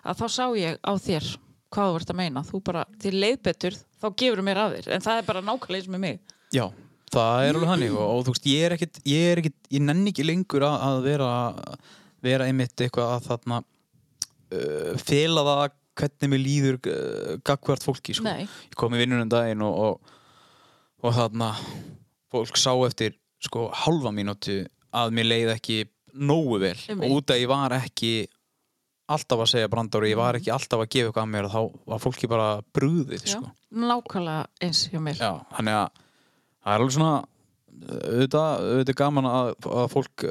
C: að þá sá ég á þér hvað þú vart að meina þú bara, þér leið betur, þá gefur mér af þér en það er bara nákvæmlega eins með mig
B: Já, það er alveg hannig og, og þú veist, ég er ekkit, ég er ekkit, ég nenni ekki lengur að, að vera, vera einmitt eitthvað að þarna uh, fela það hvernig mér líður uh, gagvart fólki, sko.
C: Nei.
B: Ég kom í vinnunum daginn og, og, og þarna fólk sá eftir, sko, halva mínútu að mér leið ekki nógu vel
C: Einmitt.
B: og út að ég var ekki alltaf að segja brandar og ég var ekki alltaf að gefa eitthvað að mér og þá var fólki bara brúðið, sko.
C: nákvæmlega eins hjá mér
B: Já, þannig að það er alveg svona auðvitað, auðvitað er gaman að, að fólk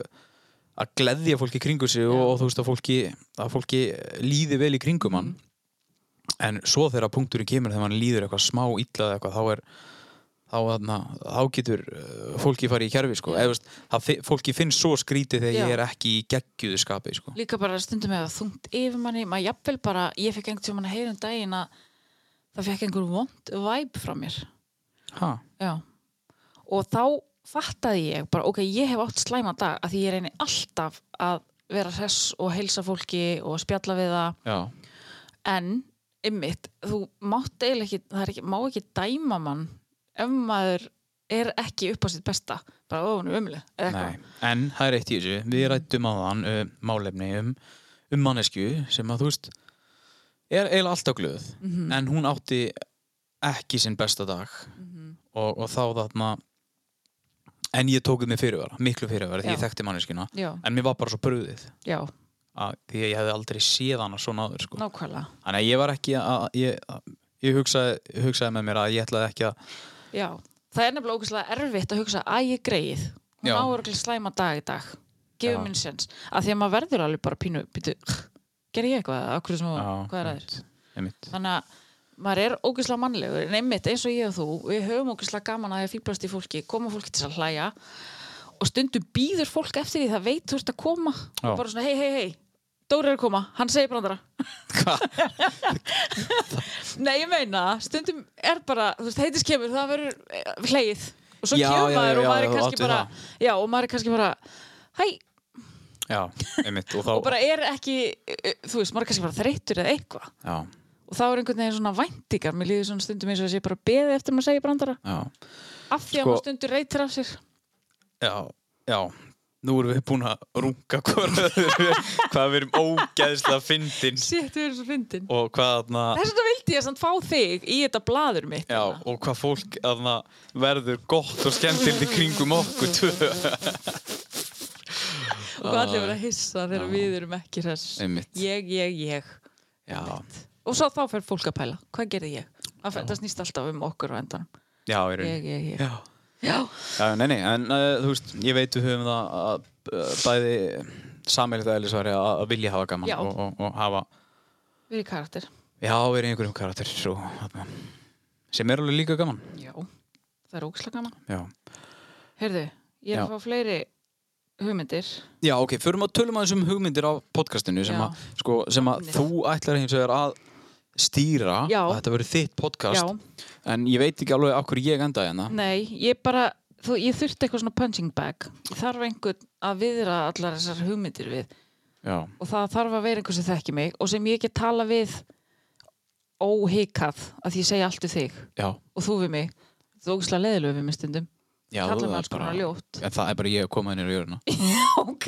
B: að gleðja fólki í kringu sig og, og þú veist að fólki, að fólki líði vel í kringum hann en svo þegar punkturinn kemur þegar mann líður eitthvað smá illa eða eitthvað þá er þá, þarna, þá getur uh, fólki farið í kjærfi sko. eða þú veist, það fi- fólki finnst svo skrítið þegar
C: Já.
B: ég er ekki í geggjuðu skapi sko.
C: líka bara stundum með að þungt yfir manni maður jafnvel bara, ég fekk einhvern tímann að heyra um daginn að það fekk einhver vond væp frá mér
B: ha,
C: Já. Og þá fattaði ég bara, ok, ég hef átt slæma dag að því ég reyni alltaf að vera hress og heilsa fólki og spjalla við það
B: já,
C: en ymmit, þú mátt eiginlega ekki, það er ekki, má ekki dæma mann ef maður er ekki upp á sitt besta, bara ó, hún er umlið eða
B: nei
C: eitthvað. Mm.
B: en það er eitt í þessu, við rættum á þann uh, málefni um, um mannesku sem að þú veist er eiginlega alltaf glöð
C: Mhm.
B: en hún átti ekki sinn besta dag
C: Mhm.
B: og, og þá þarna en ég tókuð mér fyrirvara, miklu fyrirvara því
C: Já.
B: ég þekkti manneskina
C: Já,
B: en mér var bara svo bröðið
C: já,
B: að því að ég hefði aldrei séð hana svona áður sko.
C: nákvæmlega.
B: þannig að ég var ekki að ég, að, ég hugsaði, hugsaði með mér að ég ætlaði ekki að
C: Já, það er nefnilega ógæslega erfitt að hugsa að ég greið, hún
B: Já.
C: áur ekki slæma dag í dag,
B: Já.
C: gefur minn sens að því að maður verður alveg bara pínu býtu, ger ég eitthvað, af hverju sem
B: Já,
C: hvað er aðeins
B: einmitt.
C: þannig að maður er ógæslega mannlegur en einmitt eins og ég og þú, við höfum ógæslega gaman að því að fýblast í fólki, koma fólki til að hlæja og stundum býður fólk eftir því það veit þú ert að koma
B: Já.
C: og bara svona hei, hei, hei, Dóri er að koma hann segir brandara
B: Hva?
C: Nei, ég meina, það. stundum er bara, þú veist, heitis kemur, það verður eh, hlegið og svo
B: Já,
C: kemur
B: já,
C: maður
B: já,
C: og maður
B: já,
C: er
B: þú
C: kannski
B: átti
C: bara, já, og maður er kannski bara, hæ,
B: Já, einmitt og þá
C: og bara er ekki, eh, þú veist, maður er kannski bara þreyttur eða eitthvað
B: já,
C: og þá er einhvern veginn svona væntingar, mér líður svona stundum eins og þessi bara beðið eftir maður segja brandara
B: já,
C: af því að
B: Sko-
C: maður stundur reytir af sér.
B: já, já Nú erum við búin að runga hvað, hvað við erum ógeðslega fyndin
C: Sétt, við erum svo fyndin.
B: og hvað þarna
C: Þess vegna vildi ég samt fá þig í þetta blaður mitt.
B: Já,
C: hérna.
B: og hvað fólk aðna, verður gott og skemmtildi kringum okkur tvö.
C: og hvað allir verið að hissa þegar við erum ekki þess.
B: Einmitt.
C: Ég, ég, ég.
B: Já,
C: Og svo þá fer fólk að pæla. Hvað gerði ég? Það fer- það snýst alltaf um okkur á endanum.
B: já, ég
C: Ég, ég, ég.
B: Já,
C: Já.
B: já nei, nei, en uh, þú veist, ég veit við höfum það að uh, bæði sammeilita eðlisværi að að vilja hafa gaman
C: Já.
B: og, og, og hafa,
C: Við erum karakter.
B: já, verið einhverjum karakter svo, þarna, sem er alveg líka gaman.
C: Já. Það er ógislega gaman.
B: Já,
C: Heyrðu, ég er
B: Já.
C: að fá fleiri hugmyndir.
B: já ok, förum að tölum aðeins um hugmyndir á podcastinu sem,
C: Já.
B: að, sko, sem að
C: Hugmyndir.
B: þú ætlar hins vegar að stýra
C: Já.
B: að þetta verður þitt podcast
C: Já. Mm.
B: en ég veit ekki alveg af hverju ég endaði hérna
C: Nei, ég bara, þú, ég þurfti eitthvað svona punching bag. Ég Þarf einhvern að viðra allar þessar hugmyndir við
B: Já,
C: og það þarf að vera einhver sem þekki mig og sem ég get tala við óhikað að ég segja allt við þig
B: já,
C: og þú við mig. Þú ógislega leðilegu við mig stundum.
B: já
C: Kallar
B: það
C: mig
B: er
C: alls konar ljótt.
B: En það er bara ég að koma henni í jöruna
C: ok.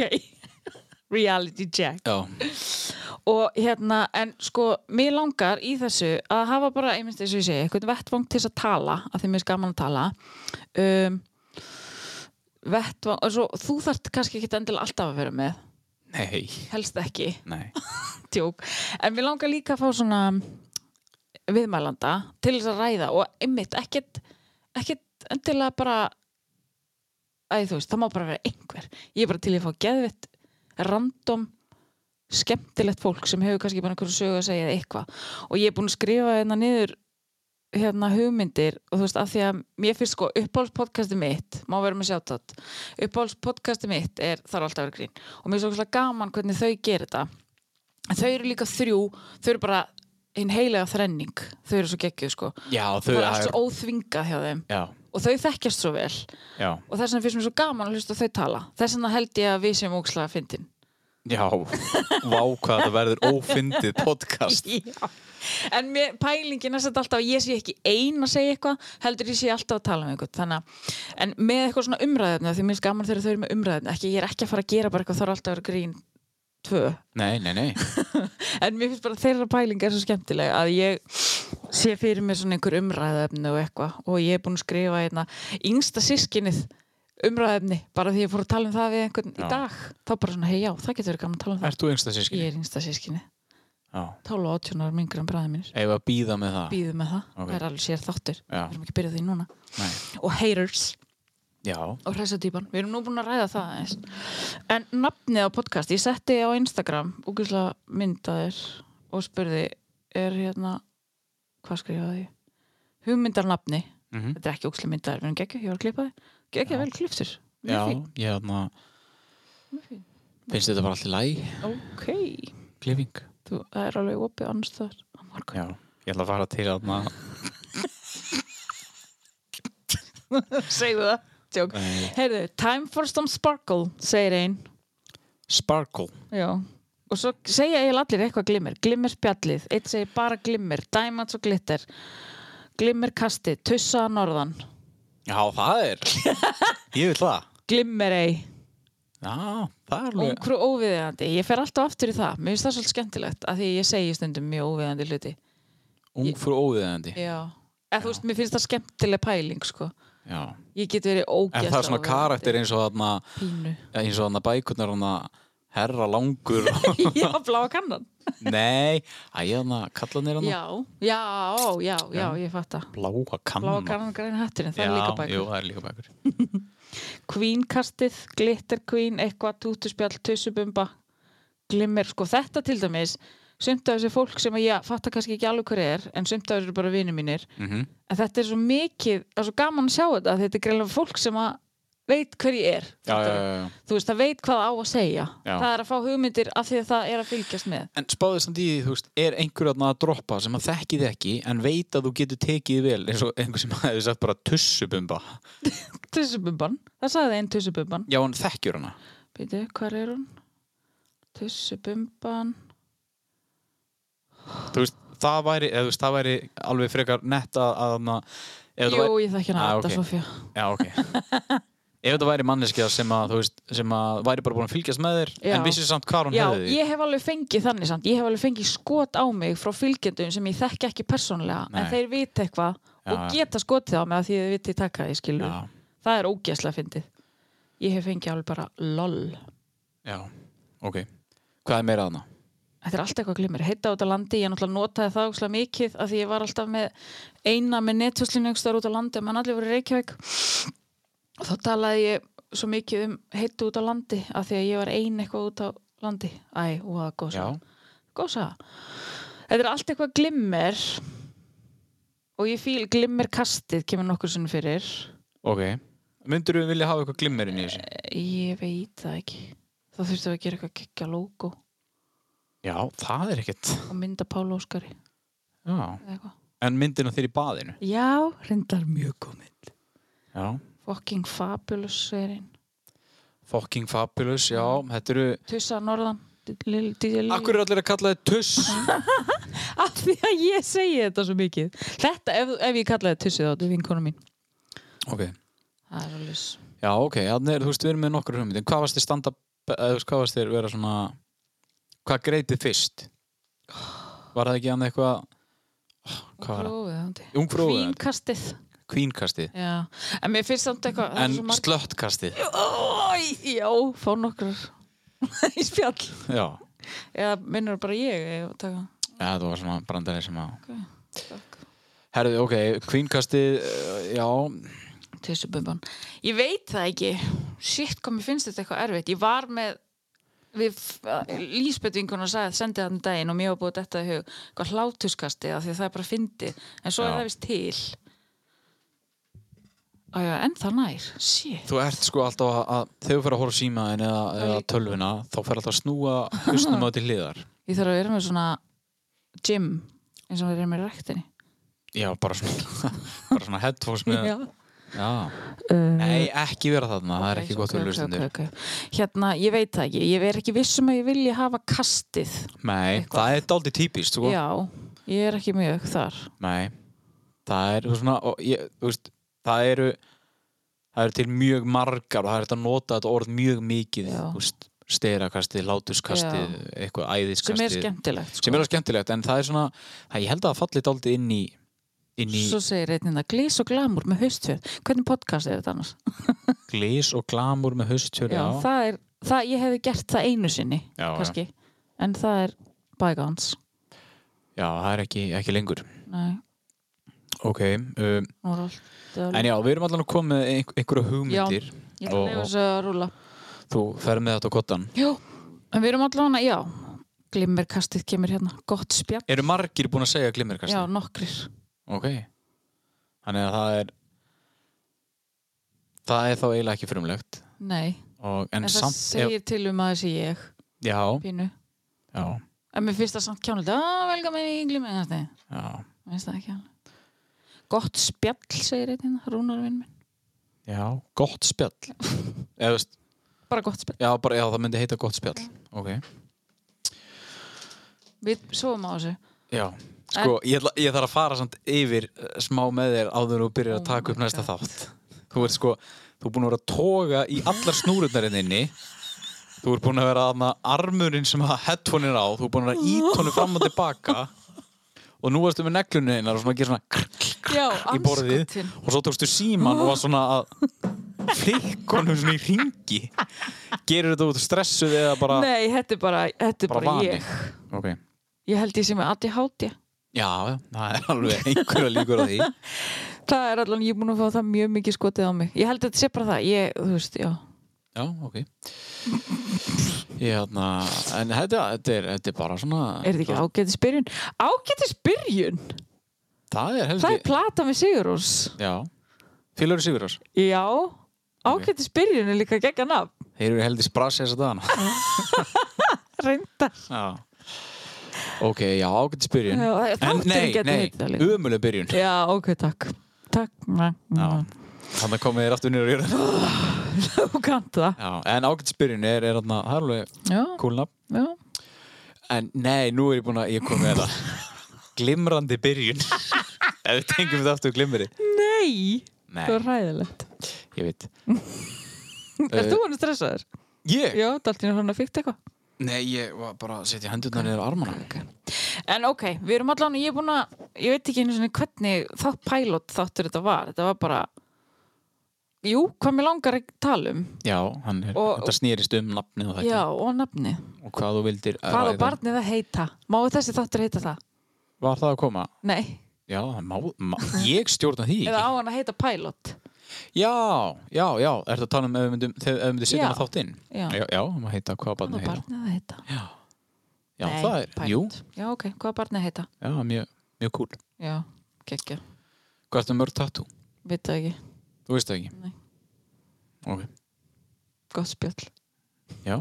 C: Reality check.
B: Já,
C: Og hérna, en sko, mér langar í þessu að hafa bara, ég minnst eins og ég segi, eitthvað vettvang til þess að tala, að því mér er gaman að tala. Um, vettvang, og svo, þú þarft kannski ekki endilega alltaf að vera með,
B: nei,
C: helst ekki,
B: nei
C: tjók. En mér langar líka að fá svona viðmælanda til þess að ræða og einmitt, ekkert, ekkert endilega bara, æ, þú veist, það má bara vera einhver. Ég er bara til í að fá geðvitt, random, skemmtilegt fólk sem hefur kannski bara einhverju sögu að segja eða eitthvað og ég er búin að skrifa hérna niður hérna hugmyndir og þú veist af því að mér finnst sko uppáhaldspodcasti mitt má vera með sjátt uppáhaldspodcasti mitt er þar alltaf að vera grín og mér er svo ógeðslega gaman hvernig þau gerir þetta en þau eru líka þrjú þau eru bara einn heilega þrenning þau eru svo geggjuð sko
B: Já, þau
C: það er allt svo óþvingað hjá þeim
B: Já,
C: og þau þekkjast svo vel
B: já,
C: og þess vegna finnst mér svo gaman að hlusta á þau tala þess vegna held ég að við séum ókslega fyndin
B: já Vá hvað það verður ófyndið podcast
C: Já. En mér, pælingin er þetta alltaf að ég sé ekki ein að segja eitthvað, heldur ég sé alltaf að tala um eitthvað. Þannig að, en með eitthvað svona umræðefni, af því minnst gaman þegar þau eru með umræðefni, ekki, ég er ekki að fara að gera bara eitthvað, þá er alltaf að vera grín tvö.
B: Nei, nei, nei
C: En mér finnst bara þeirra pæling er svo skemmtileg að ég sé fyrir mér svona einhver umræðefni og eitthvað og ég er búin að skrifa einna yngsta sískinnið umræðefni, bara því ég fór að tala um það við einhvern
B: Já.
C: í dag. Þá bara svona, hei já, það getur verið gaman að tala um það.
B: Ert þú yngsta sískinni?
C: Ég er yngsta sískinni,
B: Já
C: 12 og 18 ára mingur en bræði mínir
B: Ef að býða með það
C: býðum með það,
B: Ok.
C: það er alveg sér þáttur
B: Já.
C: við erum ekki að byrja á því núna
B: Nei.
C: og haters
B: Já,
C: og hræsatýpan, við erum nú búin að ræða það eins. en nafnið á podcast ég setti á Instagram, úkislega myndaðir og spurði er hérna, hvað skrifaði ég? hugmyndarnafni
B: Mhm.
C: þetta er ekki úkislega myndaðir, við erum geggja, ég var að klippa þið geggja vel kliptur
B: já, ég hérna
C: fín.
B: Finnst þetta bara allir læg?
C: ok,
B: Klifing
C: þú það er alveg opið annars þar á morgun
B: Já, ég ætla að fara til hérna
C: segðu það, tjók
B: Nei.
C: heyrðu, time for some sparkle segir einn
B: Sparkle
C: Já, og svo segja eiginlega allir eitthvað glimmer, glimmer spjallið, eitt segir bara glimmer, diamonds og glitter, glimmer kasti, tussa að norðan,
B: Já, það er Ég vil það
C: glimmer ei,
B: Já, það er alveg
C: ókrú óviðiðandi, ég fer alltaf aftur í það, mér finnst það svolítið skemmtilegt að því ég segi stundum mjög óviðiðandi hluti.
B: Ung frú óviðandi
C: Já, eða þú veist, mér finnst það skemmtileg pæling, sko.
B: Já
C: Ég get verið
B: En
C: ógæst
B: það er svona karakter eins og þarna
C: Pínu.
B: eins og þarna bækurnar þarna herra langur
C: Já, bláa kannan.
B: Nei, að ég þarna kallanir þarna
C: Já, já, já, já, ég fatt að.
B: Bláa kannan
C: Bláa kannan græn hatturinn, það
B: Mm. Já,
C: er líka bækur.
B: Jú, það er líka bækur
C: Queen-kastið, Glitter Queen, eitthvað, tútuspjall, tussubumba, glimmer, sko þetta til dæmis, sumt af þessi fólk sem að ég fattar kannski ekki alveg hver er, en sumt af þessi eru bara vinir mínir,
B: mm
C: en þetta er svo mikið, það er svo gaman að sjá þetta, að þetta er greiðlega fólk sem að veit hver ég er,
B: já, já,
C: fattarðu?
B: já, já.
C: þú veist, það veit hvað á að segja,
B: Já.
C: það er að fá hugmyndir af því að það er að fylgjast með.
B: En spáðið samt í því, þú veist, er einhver þarna að droppa sem að þekki þið ekki en veit að þú getur tekið þig vel eins og einhver sem hefði sagt bara tussubumba
C: Tussubumban, það sagði einn tussubumban,
B: Já, hann þekkjur hana
C: býtu, hvar er hún? Tussubumban,
B: Þú veist, það væri, eða, þú veist, það væri alveg frekar nett að, að hana, ef
C: jú,
B: þetta væri,
C: ég þekki hana,
B: Ah,
C: Adda
B: ok.
C: Sofía.
B: Já, ok Ef þetta væri manneskja sem að, þú veist, sem að væri bara búin að fylgjast með þér
C: Já.
B: en vissi samt hvað hún
C: Já,
B: hefði
C: ég hef alveg fengið þannig samt, ég hef alveg fengið skot á mig frá fylgjendum sem ég þekki ekki persónulega en
B: Nei.
C: þeir vita eitthvað
B: Já,
C: og
B: já.
C: geta skotið á mig að því þau viti taka því skilur.
B: Já,
C: Það er ógeðslega fyndið. Ég hef fengið alveg bara lol.
B: já, ok Hvað er meira þarna?
C: Þetta er alltaf eitthvað glimmer. Heita út á landi, ég náttúrulega notaði það ógeðslega mikið af því ég var alltaf með eina með nethuslinu yngstar út á landi og mann allir voru í Reykjavík og þá talaði ég svo mikið um heita út á landi af því að ég var ein eitthvað út á landi. Æ, og það góð
B: Já,
C: svo. gósa þetta er allt eitthvað glimmer og ég fíl glimmer kastið kemur nokkur sinnum fyrir
B: ok Myndur við vilja hafa eitthvað glimmerinn í þessu?
C: Eh. ég veit það ekki þá þurftum við að gera eitthvað kekja logo
B: Já, það er ekkert
C: og mynda Pála Óskari
B: Já.
C: eða eitthvað.
B: En myndina þér í baðinu?
C: Já, reyndar mjög komið
B: Já.
C: Fucking Fabulous serinn
B: Fucking Fabulous, já. Þetta eru...
C: Tussa Norðan Lil- DJ Lil
B: Akkur er allir að kalla þið tuss?
C: Af því að ég segi þetta svo mikið Þetta, ef, ef ég kallaði þetta tussið á þetta er vinkonu mín
B: ok.
C: Það er alveg s-
B: Já, ok. Þannig er, þú veist, við erum með nokkur hugmyndin. Hvað varst þér standa... Eða, þú veist, hvað varst þér vera svona... Hvað greitið fyrst? Var það ekki hann eitthvað... Hvað var það?
C: óviðandi
B: Ungfrú óviðeigandi.
C: Fínkastið
B: Kvínkastið.
C: Já, en mér finnst samt eitthvað það er
B: En
C: svo marg-
B: slöttkastið.
C: Ói, Já, fá nokkrar í spjall
B: Já.
C: Eða minnur bara ég, ég taka.
B: Já, það var svona brandarið sem að...
C: Takk.
B: Herðu, ok, kvínkastið, eh, já,
C: tussububban ég veit það ekki, shit hvað mér finnst þetta eitthvað erfitt, ég var með við lísbetvingun og sagði að sendi þann daginn og mér var búið að detta í hug eitthvað hlátuskasti af því að það er bara fyndi en svo
B: Já.
C: er það vist til Æja, en það nær shit,
B: þú ert sko alltaf að, að þegar þú fyrir að horfa á símaðin eða, eða tölvuna, þá fyrir alltaf að snúa husnum á til hliðar.
C: ég þarf að vera með svona gym eins og við erum með rektinni
B: Já, bara svona, bara svona headphones með Já,
C: uh,
B: Nei, ekki vera þarna, það er
C: ok,
B: ekki gott
C: ok,
B: fyrir
C: ok,
B: hlustendur
C: ok, ok. Hérna, ég veit það ekki, ég er ekki vissum að ég vilji hafa kastið
B: Nei,
C: Eitthvað.
B: það er dálítið típist, sko
C: Já, ég er ekki mjög þar
B: Nei, það er þú svona, og ég, þú veist, það eru það eru til mjög margar og það er þetta að nota þetta orð mjög mikið
C: Já.
B: þú veist, sterakastið, látuskastið eitthvað
C: sem
B: æðiskastið
C: er skemmtilegt sko.
B: sem er alveg skemmtilegt, en það er svona það, ég held að það falli dálítið inn í inn í
C: svo segir einnig að glís og glamur með haustfjörð hvernig podcast er þetta annars?
B: glís og glamur með haustjör
C: Já, það er, það, ég hefði gert það einu sinni
B: Já,
C: kannski, en það er bygans
B: já, það er ekki, ekki lengur
C: Nei,
B: ok, um,
C: nú er allt eh,
B: en já, við erum allan að koma með einhver, einhverja hugmyndir
C: ég ætla að
B: og-
C: leifa
B: og-
C: þessu að rúla
B: þú ferð með þetta á kottan
C: Jú, en við erum allavega já, glimmerkastið kemur hérna gott spjall,
B: Eru margir búin að segja glimmerkast?
C: já, nokkrir
B: Ok. Þannig að það er það er þá eiginlega ekki frumlegt
C: Nei,
B: og, en,
C: en, það
B: samt ef,
C: segir til um að þessi ég
B: já,
C: pínu,
B: já,
C: en mér finnst það samt kjánlega, að velga mig í glimmerkastið
B: já,
C: Mér finnst það ekki alveg gott spjall segir einn
B: hérna,
C: rúnarvinn minn
B: já gott spjall eða, veist,
C: bara gott spjall
B: já, bara, já, það myndi heita gott spjall ok,
C: við sofum á þessu
B: já sko, ég, ætla, ég þarf að fara samt yfir eh, smá með þér áður en þú byrjar
C: Oh
B: að taka upp
C: my
B: næsta
C: God.
B: þátt þú ert sko, þú er búin að vera að toga í allar snúrunarinn inni þú ert búin að vera að armurinn sem að headphone er á, þú ert búin að vera ítónu fram og tilbaka og nú varstu með neglunni einar og svona að gera svona krr, krr,
C: já,
B: í borðið og svo tókstu síman og var svona að flikka honum svona í ringi gerur þetta út stressuð eða bara
C: nei, þetta er bara, þetta er
B: Bara
C: bara,
B: vani.
C: ég
B: ok,
C: ég held ég sem er addi háti
B: já, já, það er alveg einhverja líkur á því
C: það er allan, ég er búin að fá það mjög mikið skotið á mig ég held að þetta sé bara það, ég, þú veist, já
B: já, ok ég hérna en þetta, þetta, er, þetta er bara svona
C: er þetta ekki ágætis byrjun ágætis byrjun,
B: það er
C: það
B: heldur
C: er plata með Sigurús
B: já, félagri Sigurðars
C: já, ágætis byrjun er líka geggan af
B: þeir eru heldur sprasi þess að dana
C: reyndar,
B: já ok, já, ágætis byrjun
C: Já, það-
B: en
C: þátturinn
B: nei,
C: gæti heitið það
B: nei,
C: líka.
B: umuleg byrjun
C: já, ok, takk takk, næ,
B: já, þannig komið þér aftur nýra
C: þú kannt það
B: Já, en ágættisbyrjun er, er þarna, það er alveg
C: já,
B: kúlna.
C: já
B: En nei, nú er ég búin að, ég kom með það. Glimrandi byrjun. Ef við tengjum þetta aftur glimri.
C: Nei,
B: Nei,
C: það var ræðilegt
B: ég veit. Eh.
C: Er þú hann stressaður?
B: Ég?
C: Já, Daltinn er hann að fíkta eitthvað
B: Nei, ég var bara að setja hendurnar niður á armana.
C: En ok, við erum allan, ég er búin að ég veit ekki einu svona hvernig þátt pælót þáttur þetta var, þetta var bara Jú, hvað mér langar að tala um
B: Já, hann er,
C: Og-
B: þetta snýrist um nafnið og þetta.
C: Já, og nafni,
B: Og Eh, hvað þú vildir að
C: hvað á barnið að heita Má þessi þáttur heita það?
B: Var það að koma?
C: Nei,
B: Já, það má, má, ég stjórna því
C: eða á
B: ekki.
C: hann að heita pælót
B: Já, já, já, ertu að tala um ef við myndum, þegar ef við myndum setja
C: Já.
B: hana þátt inn?
C: Já.
B: já, já maður heita hvað
C: Hvað á
B: barnið heita.
C: barnið að heita?
B: Já, já
C: Nei,
B: það er, jú,
C: pilot. Já, ok, hvað á barnið að heita?
B: já, mjög, mjög cool.
C: Já, gekkja,
B: Hvað ertu mörg tattoo?
C: veit það ekki,
B: Þú veist það ekki?
C: Nei.
B: Ok,
C: gott spjall
B: já,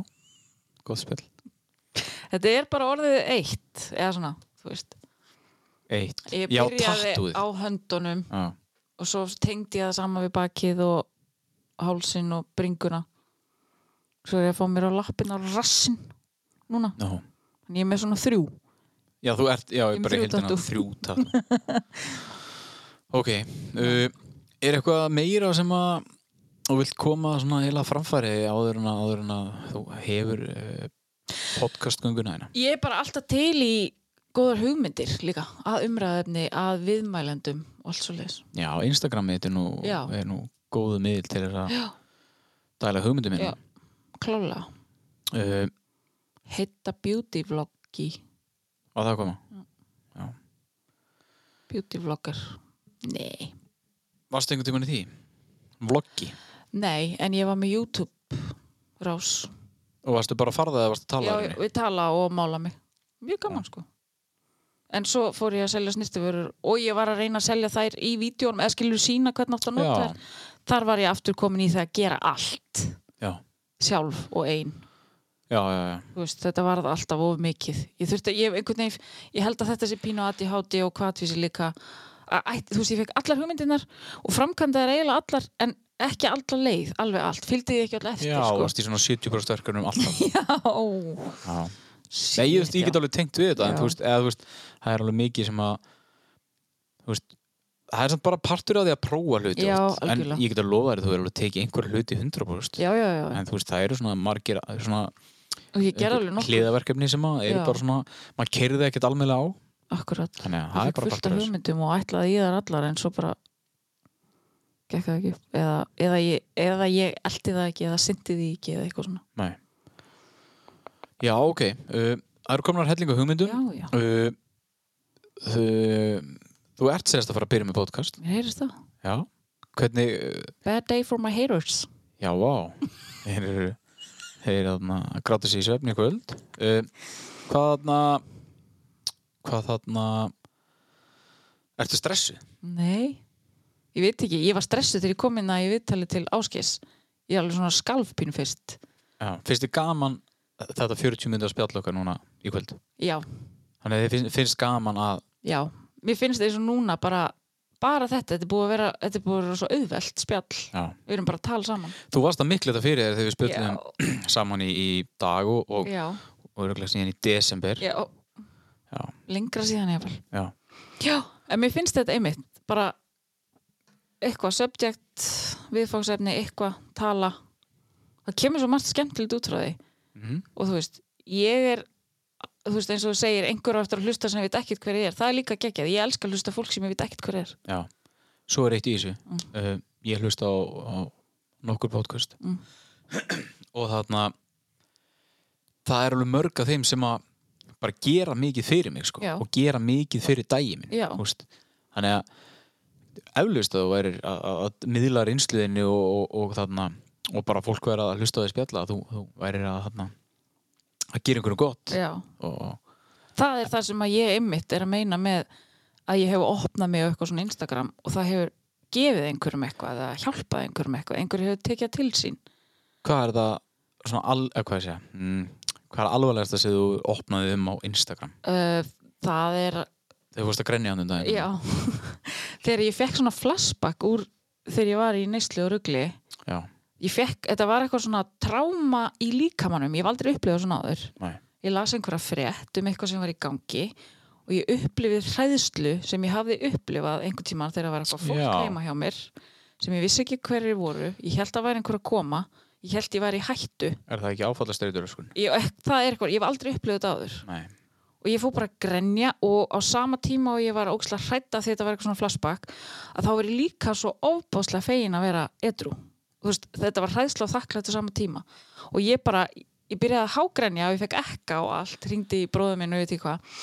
B: gott spil.
C: Þetta er bara orðið eitt, eða svona, þú veist
B: eitt
C: Ég
B: Já,
C: byrjaði
B: tattúið
C: á höndunum
B: Já,
C: og svo tengdi ég það saman við bakið og hálsin og bringuna svo er ég að fá mér á lappin á rassin núna,
B: já.
C: en ég er með svona þrjú
B: já, þú ert, já, ég
C: Ég er með
B: bara
C: þrjú
B: hildina
C: tattoo.
B: þrjú tattu Ok, uh, er eitthvað meira sem að þú vilt koma svona heila framfæri áður en að, áður en að þú hefur uh, podcastgönguna hérna
C: ég er bara alltaf til í góðar hugmyndir líka, að umræðefni að viðmælendum og allt svo leis
B: Já, Instagramið þetta er nú,
C: Já.
B: er nú góðu miðl til þess að
C: já,
B: dæla hugmyndum minna
C: já, klála
B: uh,
C: heita beauty vloggi
B: og það að koma
C: beauty vlogger nei,
B: Varstu einhvern tímann í því? Vloggi?
C: nei, en ég var með YouTube rás
B: Og varstu bara að fara það eða varstu að tala
C: Já, við tala og mála mig Mjög gaman sko En svo fór ég að selja snirtivörur og ég var að reyna að selja þær í vídjónum eða skilur sína hvernig átt að nota
B: Já.
C: þær Þar var ég aftur komin í það að gera allt
B: Já,
C: sjálf og ein
B: já, já, já.
C: Þú veist, þetta varð alltaf of mikið ég, þurfti, ég, hef einhvern veginn, ég held að þetta sé pínu ADHD og kvatvísi líka að, æ, þú veist, ég fekk allar hugmyndinar og framkvæmdaði eiginlega allar en ekki allar leið, alveg allt fylgdi ég ekki allar eftir
B: Já, sko.
C: sko.
B: varst í svona 70% verkefnum alltaf
C: Já,
B: Já. Nei, ég, veist, ég
C: shit,
B: get alveg tengt við þetta en
C: Já.
B: þú veist, eða, þú veist, það er alveg mikið sem að þú veist, það er samt bara partur af því að prófa hluti
C: Já,
B: þú veist. en
C: algjörlega.
B: ég get að lofa þér að þú er alveg tekið einhverja hluti 100%
C: já, já, já, já.
B: en þú veist, það eru svona margir svona
C: og ég gerði alveg
B: einhver
C: nokkuð
B: hliðaverkefni sem að eru
C: Já.
B: bara svona maður keyrði ekkert almennlega á
C: Akkurat,
B: þannig að það er
C: ég fikk
B: bara
C: fullt af
B: partur af þessu.
C: hugmyndum og ætlaði ég þar allar en svo bara gekk það ekki upp. eða, eða, ég, eða ég eldi það ekki eða syndi því ekki eða eitthvað svona
B: Nei. Já, ok uh, Það eru komnar hellinga hugmyndum
C: Já, já,
B: uh, þú, þú ert sérst að fara að byrja með podcast
C: mér heyrist það
B: Já Hvernig, uh,
C: Bad day for my haters
B: já, vá Þeir eru Þeir eru þarna að gráta sér í svefni í kvöld uh, Hvað þarna Hvað þarna Ertu stressu?
C: Nei, ég veit ekki, ég var stressuð þegar ég kom inn að ég viðtali til áskis ég er alveg svona skalfpínu fyrst
B: Já, finnst þið gaman þetta 40 myndi að spjalla okkar núna í kvöld
C: Já,
B: Þannig að þið finnst, finnst gaman að
C: já, mér finnst eins og núna bara, bara þetta, þetta er búið að vera þetta er búið að vera svo auðvelt spjall
B: Já
C: við erum bara að tala saman
B: Þú varst að mikla þetta fyrir þér þegar við spjöldum
C: Já,
B: saman í, í dag og, og,
C: já,
B: og örgulega síðan í desember
C: já,
B: Já.
C: lengra síðan ég vel
B: Já.
C: Já, en mér finnst þetta einmitt bara eitthvað subject, viðfóksefni eitthvað, tala það kemur svo margt skemmtilegt út frá því
B: Mhm.
C: og þú veist, ég er þú veist, eins og þú segir, einhver á eftir að hlusta sem ég veit ekkert hver ég er, það er líka geggjað ég elska að hlusta á fólk sem ég veit ekkert hver er
B: Já. Svo er eitt í þessu uh, Ég hlusta á, á nokkur podcast
C: Mm.
B: og þarna það er alveg mörg af þeim sem að bara gera mikið fyrir mig sko,
C: Já.
B: og gera mikið fyrir dagi minn
C: Já.
B: þú veist. Þannig að eflaust að þú værir að, að, að miðla reynsluðinni og, og, og þarna og bara fólk væri að hlusta á því spjalla þú, þú værir að þarna að gera einhverju gott
C: Já.
B: og,
C: það er það sem að ég einmitt er að meina með að ég hefur opnað mig á eitthvað svona Instagram og það hefur gefið einhverjum eitthvað eða hjálpað einhverjum eitthvað, einhverjum hefur tekið það til sín
B: hvað er það svona al, eh, hvað, ég segja, mm, hvað er alvarlegast að þú opnaði um á Instagram
C: uh, það er
B: þegar þú fórst að grenja hann um daginn
C: Já, þegar ég fekk svona flashback úr þegar ég var í neyslu og rugli
B: Já,
C: ég fekk, þetta var eitthvað svona tráma í líkamannum, ég hef aldrei upplifað svona áður
B: nei,
C: ég las einhverja frétt um eitthvað sem var í gangi og ég upplifið hræðslu sem ég hafði upplifað einhvern tímann þegar það var eitthvað fólk
B: Já.
C: heima hjá mér sem ég vissi ekki hverjir voru ég held að væri einhver að koma ég held ég væri í hættu
B: er það ekki áfallastreitur sko?
C: ég, það er eitthvað, ég hef aldrei upplifað þetta áður
B: Nei,
C: og ég fór bara að grenja og á sama tíma og ég var ókslega hrætta því þetta var eitthvað svona flashback að þá var ég líka svo óbáslega fegin að vera edru veist, þetta var hræðsla og þakklætt á sama tíma og ég bara, ég byrjaði að hágrenja og ég fekk ekka og allt, ringdi í bróðum minn og ég veit í hvað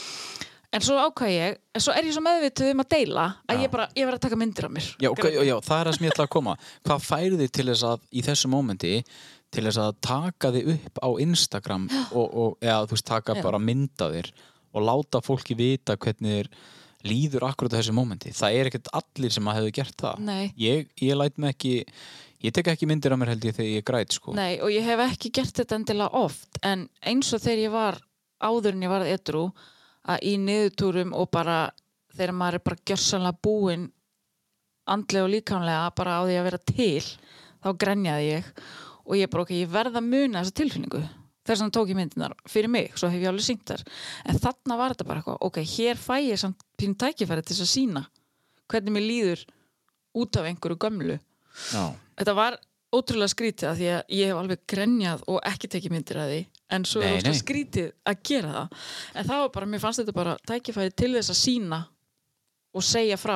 C: en svo ákvæði ég, en svo er ég svo meðvituð um að deila að
B: Já.
C: ég bara, ég var að taka myndir af mér
B: já, ok, já, já, það er það sem ég ætla að koma Hvað færi þig til þess að í þessu mómenti til þess að taka þig upp á Instagram og, og eða, þú veist, taka
C: Já.
B: bara mynda þér og láta fólki vita hvernig þér líður akkurat á þessu mómenti Það er ekkert allir sem að hefðu gert það
C: Nei.
B: Ég, ég læt mig ekki Ég tek ekki myndir af mér held ég þegar ég græt sko.
C: Nei, og ég hef ekki gert þetta endilega oft en eins og þegar ég var áður en ég varð edru að í niðurtúrum og bara þegar maður er bara gjörsanlega búinn andlega og líkamlega bara á því að vera til þá grenjaði ég og ég bara ok, ég verð að muna þessa tilfinningu þess vegna tók ég myndinar fyrir mig svo hef ég alveg syngt þar en þarna var þetta bara eitthvað, ok, hér fæ ég samt pínu tækifæri til þess að sína hvernig mér líður út af einhverju gömlu
B: já,
C: þetta var ótrúlega skrítið að því að ég hef alveg grenjað og ekki tekið myndir að því en svo
B: Nei,
C: er ótrúlega
B: nei.
C: skrítið að gera það en það var bara, mér fannst þetta bara tækifæri til þess að sína og segja frá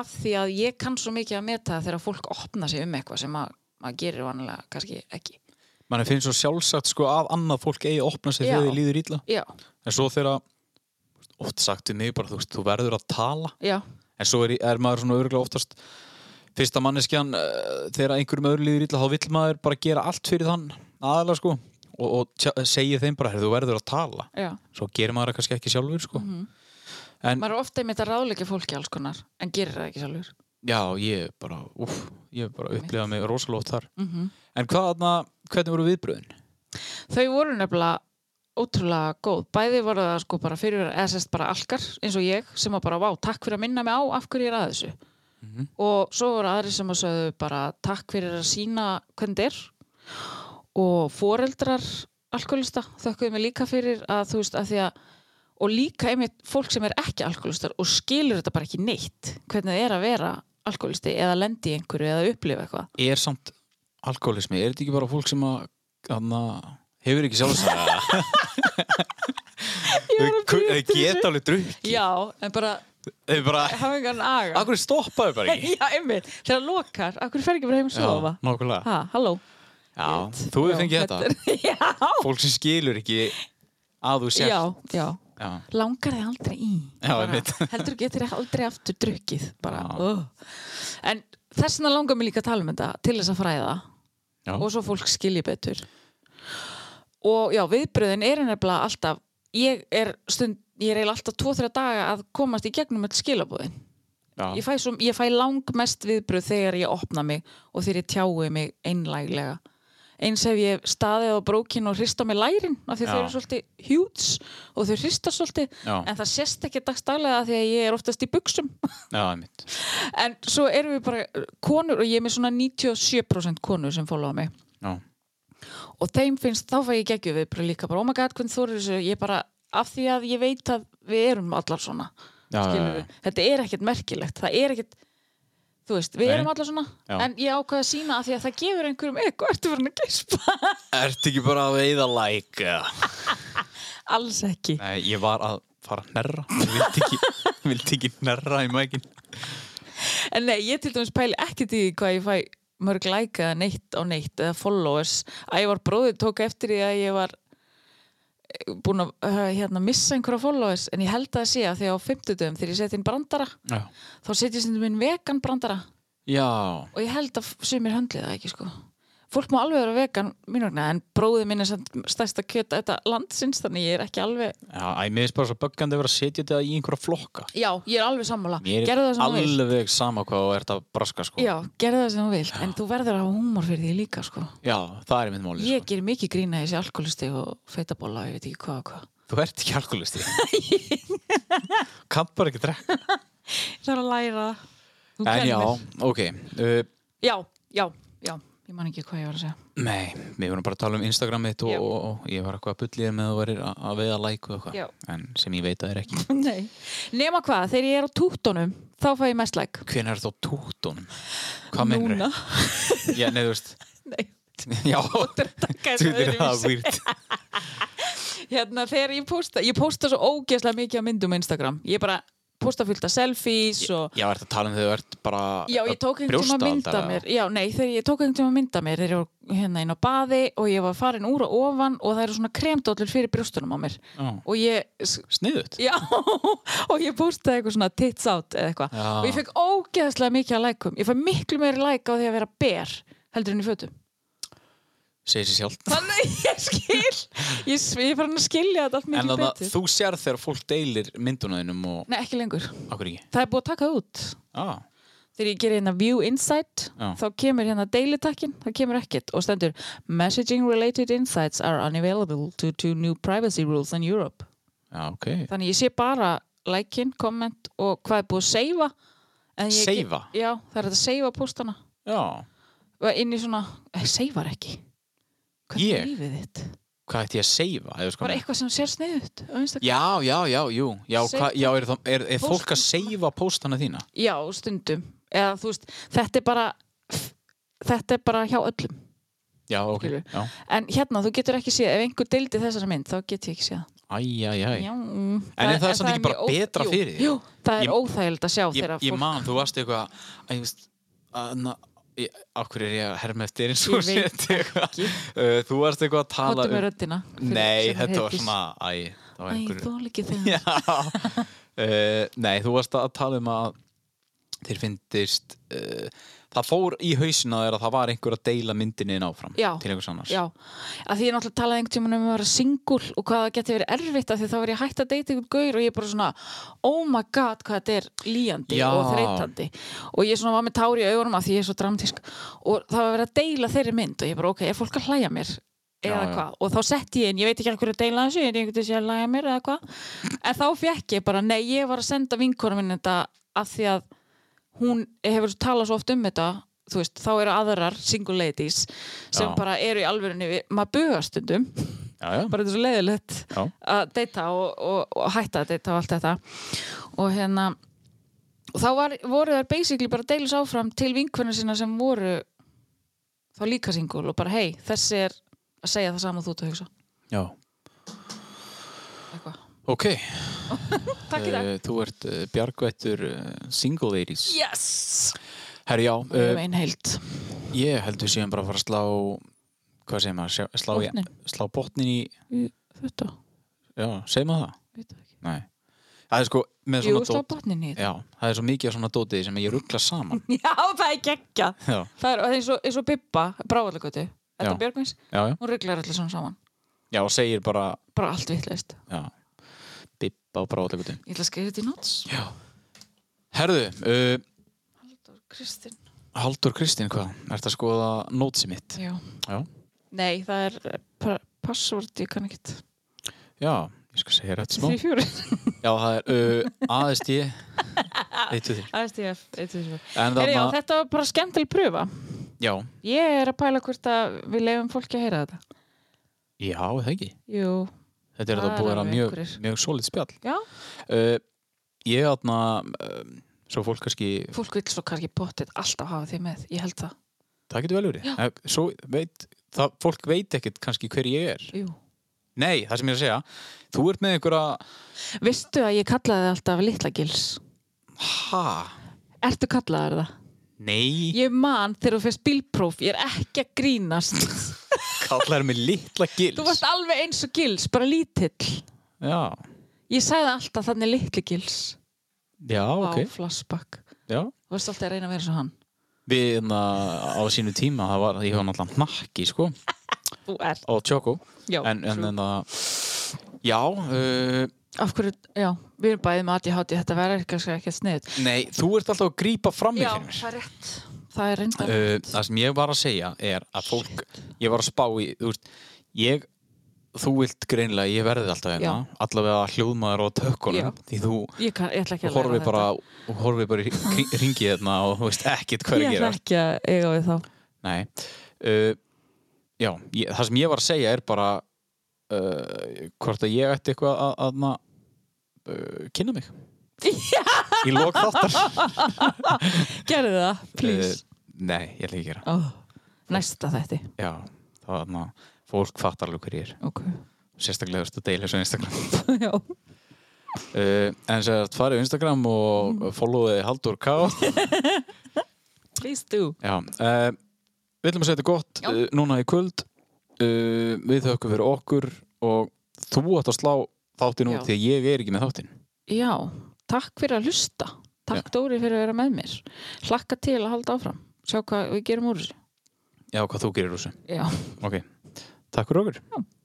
C: af því að ég kann svo mikið að meta það þegar fólk opna sig um eitthvað sem að maður gerir vanilega kannski ekki
B: mann finnst svo sjálfsagt sko að annað fólk eigi að opna sig
C: Já.
B: þegar þið líður illa
C: já,
B: en svo þegar oft sagt við mig bara þú veist, þú verður að tala
C: já,
B: en svo er, er maður svona örgulega oftast fyrsta manneskjan uh, þegar einhverjum öðru líður illa þá vill maður bara gera allt fyrir þann aðalega sko og, og tjá- segja þeim bara "Heyrðu, þú verður að tala
C: já mhm.
B: svo gerir maður það kannski ekki sjálfur sko en
C: maður er ofta einmitt að ráðleika fólki alls konar en gerir það ekki sjálfur
B: já ég bara úf, ég bara upplifa mig rosalega oft þar
C: mm
B: en hvaðna, hvernig voru viðbröðin?
C: þau voru nefnilega ótrúlega góð, bæði voru það sko bara fyrir eða sérst bara alkar eins og ég sem var bara vá, takk fyrir að minna mig á af hverju ég er að þessu
B: Mhm.
C: og svo voru aðri sem að sögðu bara takk fyrir að sína hvernig þetta er og foreldrar alkoholista þökkuðu mig líka fyrir að þú veist að því að og líka einmitt fólk sem er ekki alkoholistar og skilur þetta bara ekki neitt hvernig það er að vera alkoholisti eða lendi í einhverju eða upplifa eitthvað
B: er samt alkoholismi, er þetta ekki bara fólk sem að hana, hefur ekki sjálfsagt þau geta alveg drukki
C: um Já, en bara
B: þau bara,
C: hafa engan aga
B: akkur stoppaðu bara ekki
C: Já, einmitt, þegar hann lokar, akkur fer ekki bara heim að sofa
B: nákvæmlega
C: Ha, halló
B: já, þú hefur
C: Ah, Já,
B: fengið þetta,
C: er- Já,
B: fólk sem skilur ekki að þú
C: já,
B: sért
C: já
B: já.
C: Langar þið aldrei í
B: Já, einmitt.
C: Heldur getur þið aldrei aftur drukkið bara,
B: Já.
C: oh. En þess vegna langar mér líka að tala um þetta til þess að fræða
B: Já.
C: og svo fólk skilji betur Og já, viðbröðin er nefnilega alltaf Ég er stund, ég er eiginlega alltaf tvo-þrjá daga að komast í gegnum öll skilabóðin
B: Já.
C: ég fæ, svo, ég fæ langmest viðbröð þegar ég opna mig og þegar ég tjái mig einlæglega eins ef ég hef staðið á brókin og hrista mig lærin af því
B: Já.
C: þau eru svolítið hjúts og þau hrista svolítið
B: Já.
C: en það sést ekki dagstælega því að ég er oftast í buksum
B: já, einmitt
C: en svo erum við bara uh, konur og ég er með svona 97% konur sem fólóða mig
B: já,
C: og þeim finnst, þá fæ ég geggju við bara líka bara, oh my god, hvernig þú eru þessu ég bara, af því að ég veit að við erum allar svona
B: Já,
C: skilurðu.
B: já, já.
C: þetta er ekkert merkilegt, það er ekkert þú veist, við
B: Nei.
C: erum allar svona
B: Já.
C: en ég ákvaða að sína af því að það gefur einhverjum eitthvað, ertu fyrir að geispa
B: ertu ekki bara að veiða læk like?
C: alls ekki,
B: nei, ég var að fara að nerra ég vildi ekki, vildi ekki nerra í mækin
C: en nei, ég til dæmis pæli ekkert í því hvað ég fæ mörg like eða neitt á neitt eða followers, ævar bróðið tók eftir því að ég var búin að uh, hérna, missa einhverja followers en ég held að það sé að því að á fimmtudum þegar ég seti inn brandara
B: já,
C: þá setjum stundum inn vegan brandara
B: já.
C: og ég held að sumir höndlið það ekki sko fólk má alveg vera vegan mín vegna en bróðið minn er samt stærsta kjöt þetta landsins þannig ég er ekki alveg
B: Já, æ, mér finnst bara svo böggandi að vera að setja þetta í einhverja flokka.
C: já, ég er alveg sammála
B: Mér
C: gerðu það
B: er
C: sem þú vilt
B: alveg sama hvað þú ert að braska, sko.
C: já, gerðu það sem þú vilt en þú verður að hafa húmor fyrir því líka sko
B: Já, það er mitt sko. máli,
C: ég ger mikið grína þessi alkoholisti og feitabóla og ég veit ekki hvað og hvað
B: sko. Þú ert ekki alkoholisti. Kannt bara ekki drekka.
C: ég þarf að læra það. Þú
B: En
C: kennir
B: já,
C: mér.
B: ok. Uh,
C: já, já, já, ég man ekki hvað ég var að segja
B: nei, við vorum bara að tala um Instagram mitt og,
C: Já.
B: og, og ég var eitthvað að bullið með að vera að veiða like og
C: Já.
B: eitthvað. En sem ég veit að er ekki.
C: Nei. nema hvað, þegar ég er á túttunum þá fæ ég mest like
B: Hvenær er þá tóttunum? Hvað mennur?
C: Núna.
B: Já, nei, þú veist.
C: Nei.
B: Já,
C: taka þetta
B: þú veitir það
C: öðruvísi.
B: er výrt.
C: hérna þegar ég posta ég posta svo ógeðslega mikið á myndum á Instagram ég bara posta fullt af selfies og
B: Já, ert að tala um þegar þú ert bara
C: já ég tók einhvern tíma að mynda
B: brjóstahaldara.
C: mér já nei þegar ég tók einhvern tíma að mynda mér þegar ég var hérna inn á baði og ég var farin úr og ofan og það eru svona kremdóllur fyrir brjóstunum á mér
B: Já,
C: og ég s-
B: sniðut.
C: já og ég postaði eitthvað svona tits out eða eitthvað
B: Já.
C: og ég fekk ógeðslega mikið að lækum ég fæ miklu meiri læk á því að vera ber heldur enn í fötum
B: segir sér sjálft
C: þannig ég skil ég, s- ég er farin að skilja þetta allt
B: en
C: mikið
B: þannig
C: betur
B: að þú sér þegar fólk deilir myndunæðinum og
C: nei ekki lengur
B: okkur ekki
C: það er búið að taka það út
B: ah,
C: þegar ég gerir hérna view insight
B: Já.
C: þá kemur hérna daily takkin, þá kemur ekkert og stendur messaging related insights are unavailable due to new privacy rules in Europe
B: já, ok,
C: þannig ég sé bara like-in, comment og hvað er búið að seifa
B: Seifa?
C: Já, það er þetta að seifa postana
B: Já,
C: inn í svona, seifar ekki Hvernig
B: Ég?
C: er lífið þitt?
B: hvað ætti ég að seifa? Eða, sko,
C: Bara eitthvað sem sér sniðut á Instagram
B: já, já, já, jú Já,
C: Save-
B: hva, já er, það, er, er fólk að
C: Póstana.
B: seifa póstana þína?
C: Já, stundum eða þú veist, þetta er bara þetta er bara hjá öllum
B: Já, ok
C: Skilur.
B: já.
C: en hérna, þú getur ekki séð, ef einhver deildi þessari mynd þá get ég ekki séð það.
B: Æ, æ, æ
C: Já, mm.
B: er það samt ekki
C: mjög
B: bara betra
C: jú,
B: fyrir þig?
C: Jú, það er
B: Ég-
C: óþægild að sjá
B: ég,
C: þegar
B: ég
C: fólk
B: man, þú varst eitthvað að ég veist að, na, ég, af hverju er ég að herma eftir eins
C: Ég
B: og
C: veit
B: set eitthvað uh, þú varst eitthvað að tala um-
C: hóttum með röddina fyrir-
B: nei,
C: sem er
B: þetta var
C: heitis.
B: svona æ, það var
C: Æ,
B: einhver
C: þú líki þegar
B: Já. uh, nei, þú varst að tala um að þeir fyndist uh, það fór í hausina þér að það var einhver að deila myndinni inn áfram
C: Já.
B: til einhvers annars
C: Já, að því ég náttúrulega talaði einhvern tímann um að vera singul og hvað það geti verið erfitt að því þá var ég hætt að deyta einhvern gaur og ég bara svona oh my god hvað þetta er líjandi
B: Já.
C: og þreytandi og ég svona var með tár í augunum að því ég er svo dramatísk og það var verið að deila þeirri mynd og ég bara ok, er fólk að hlæja mér? eða
B: Já, já.
C: hvað, og þá setti ég inn, ég veit ekki hverju að deila þessu, ég veit ekki hverju að læga mér eða hvað en þá fekk ég bara, nei, ég var að senda vinkonum minn þetta af því að hún hefur talað svo oft um þetta þú veist, þá eru aðrar single ladies sem
B: Já.
C: bara eru í alvörunni við, maður bugast stundum,
B: já, já.
C: bara þetta er svo leiðilegt
B: Já.
C: að deyta og, og, og hætta að deyta og allt þetta og hérna og þá var, voru þær basically bara að deilis áfram til vinkvörnum sína sem voru þá líka single og bara hei, þessi er að segja það sama og þú ert að hugsa
B: já.
C: eitthvað,
B: ok,
C: takk í dag
B: uh, þú ert uh, bjargvættur uh, single ladies
C: yes,
B: herri já,
C: við
B: uh,
C: erum einn heild
B: Ég held við séum bara að fara að slá hvað segir maður, Sjá- slá, í-
C: Botninn.
B: slá botnin í
C: þetta,
B: já, segir maður það?
C: veit það ekki
B: Nei Það er sko með
C: Jú,
B: svona
C: slá
B: dót
C: botnin í þetta
B: Já, það er svo mikið af svona dótið sem ég ruggla saman
C: Já, það er geggja
B: Já,
C: Það er, það er eins, og, eins og Bibba, bráðalagötu Þetta
B: Já.
C: Björgvins,
B: já, já,
C: hún rugglar allir svona saman
B: já og segir bara
C: Bara allt vitleist
B: já, bibba og bráðlegutin
C: Ég ætla að skrifa þetta í notes
B: Já Herðu, uh,
C: Kristinn
B: Haldur Kristinn hvað? Ertu að skoða nótsi mitt?
C: Já.
B: Já.
C: Nei, það er eh, pa- password, ég kann ekkert
B: Já, ég skal segja rétt smá
C: Því fjóri
B: Já, það er uh, ASD Eittu þér
C: ASDF, eitthvað svo
B: En
C: Heri, já,
B: þarna,
C: Þetta var bara skemmtileg pröfa
B: já,
C: Ég er að pæla hvort að við leifum fólki að heyra þetta
B: já, það ekki
C: Jú,
B: Þetta er
C: Það
B: það búið að vera
C: alveg
B: mjög,
C: einhverjir.
B: mjög solid spjall
C: já,
B: Uh, ég aðna um, svo fólk kannski,
C: fólk vil svo kannski bóttið alltaf hafa því með, ég held það
B: það getur vel verið Eh, svo veit, það, fólk veit ekkert kannski hver ég er
C: Jú.
B: nei, það sem ég er að segja, þú ert með einhverja
C: Vistu að ég kallaði það alltaf litla gils
B: ha,
C: Ertu kallaðar það?
B: nei
C: Ég man þegar þú fyrst bílpróf, ég er ekki að grínast.
B: kallar mig litla gils
C: þú varst alveg eins og gils, bara lítill.
B: já,
C: Ég sagði alltaf þannig litli gils
B: já, ok
C: á flashback.
B: já.
C: Þú varst alltaf að reyna að vera svo hann.
B: við na, á sínu tíma það var, ég var náttúrulega nakki sko,
C: Þú er.
B: á tjóku
C: Já,
B: en, en,
C: true.
B: en það já, uh,
C: Af hverju, já, við erum bæðið með ADHD, þetta verður kannski ekki sniðut.
B: nei, þú ert alltaf að grípa fram í
C: Já,
B: fyrir mér
C: það er rétt. Það er reyndar.
B: Uh,
C: rétt.
B: það sem ég var að segja er að fólk ég var að spá í þú, veist, ég, þú vilt greinlega ég verði alltaf hérna, allavega hljóðmaður og tökkunum,
C: Já.
B: því þú
C: ég, kann, ég ætla ekki
B: þú
C: að
B: horfir bara, þú horfir bara í ringið hérna og þú veist ekkert hvað er
C: Ég
B: að
C: ætla
B: gera
C: ekki að eiga við þá.
B: Nei, uh, já, ég, það sem ég var að segja er bara uh, hvort að ég ætti eitthvað að, að, na, uh, kynna mig í lók þáttar
C: Gerðu það, please.
B: Uh, Nei, ég ætla ekki að gera
C: Uh, Næsta þetti.
B: Já, það var þarna fólk fattar alveg hver ég er
C: Ok.
B: sérstaklega þú ert að deila þessu á Instagram
C: já.
B: uh, en sér að farið á Instagram og mm. followið Haldur K
C: Please do.
B: já, uh, við ætlum að segja þetta gott
C: Já.
B: uh, núna í kvöld uh, við þökkum fyrir okkur og þú átt að slá þáttinn
C: Já.
B: út því að ég er ekki með þáttinn
C: Já, takk fyrir að hlusta. Takk Dóri fyrir að vera með mér. Hlakka til að halda áfram. Sjá hvað við gerum úr þessu.
B: já, hvað þú gerir úr þessu
C: Já.
B: ok, takk fyrir okkur
C: Já.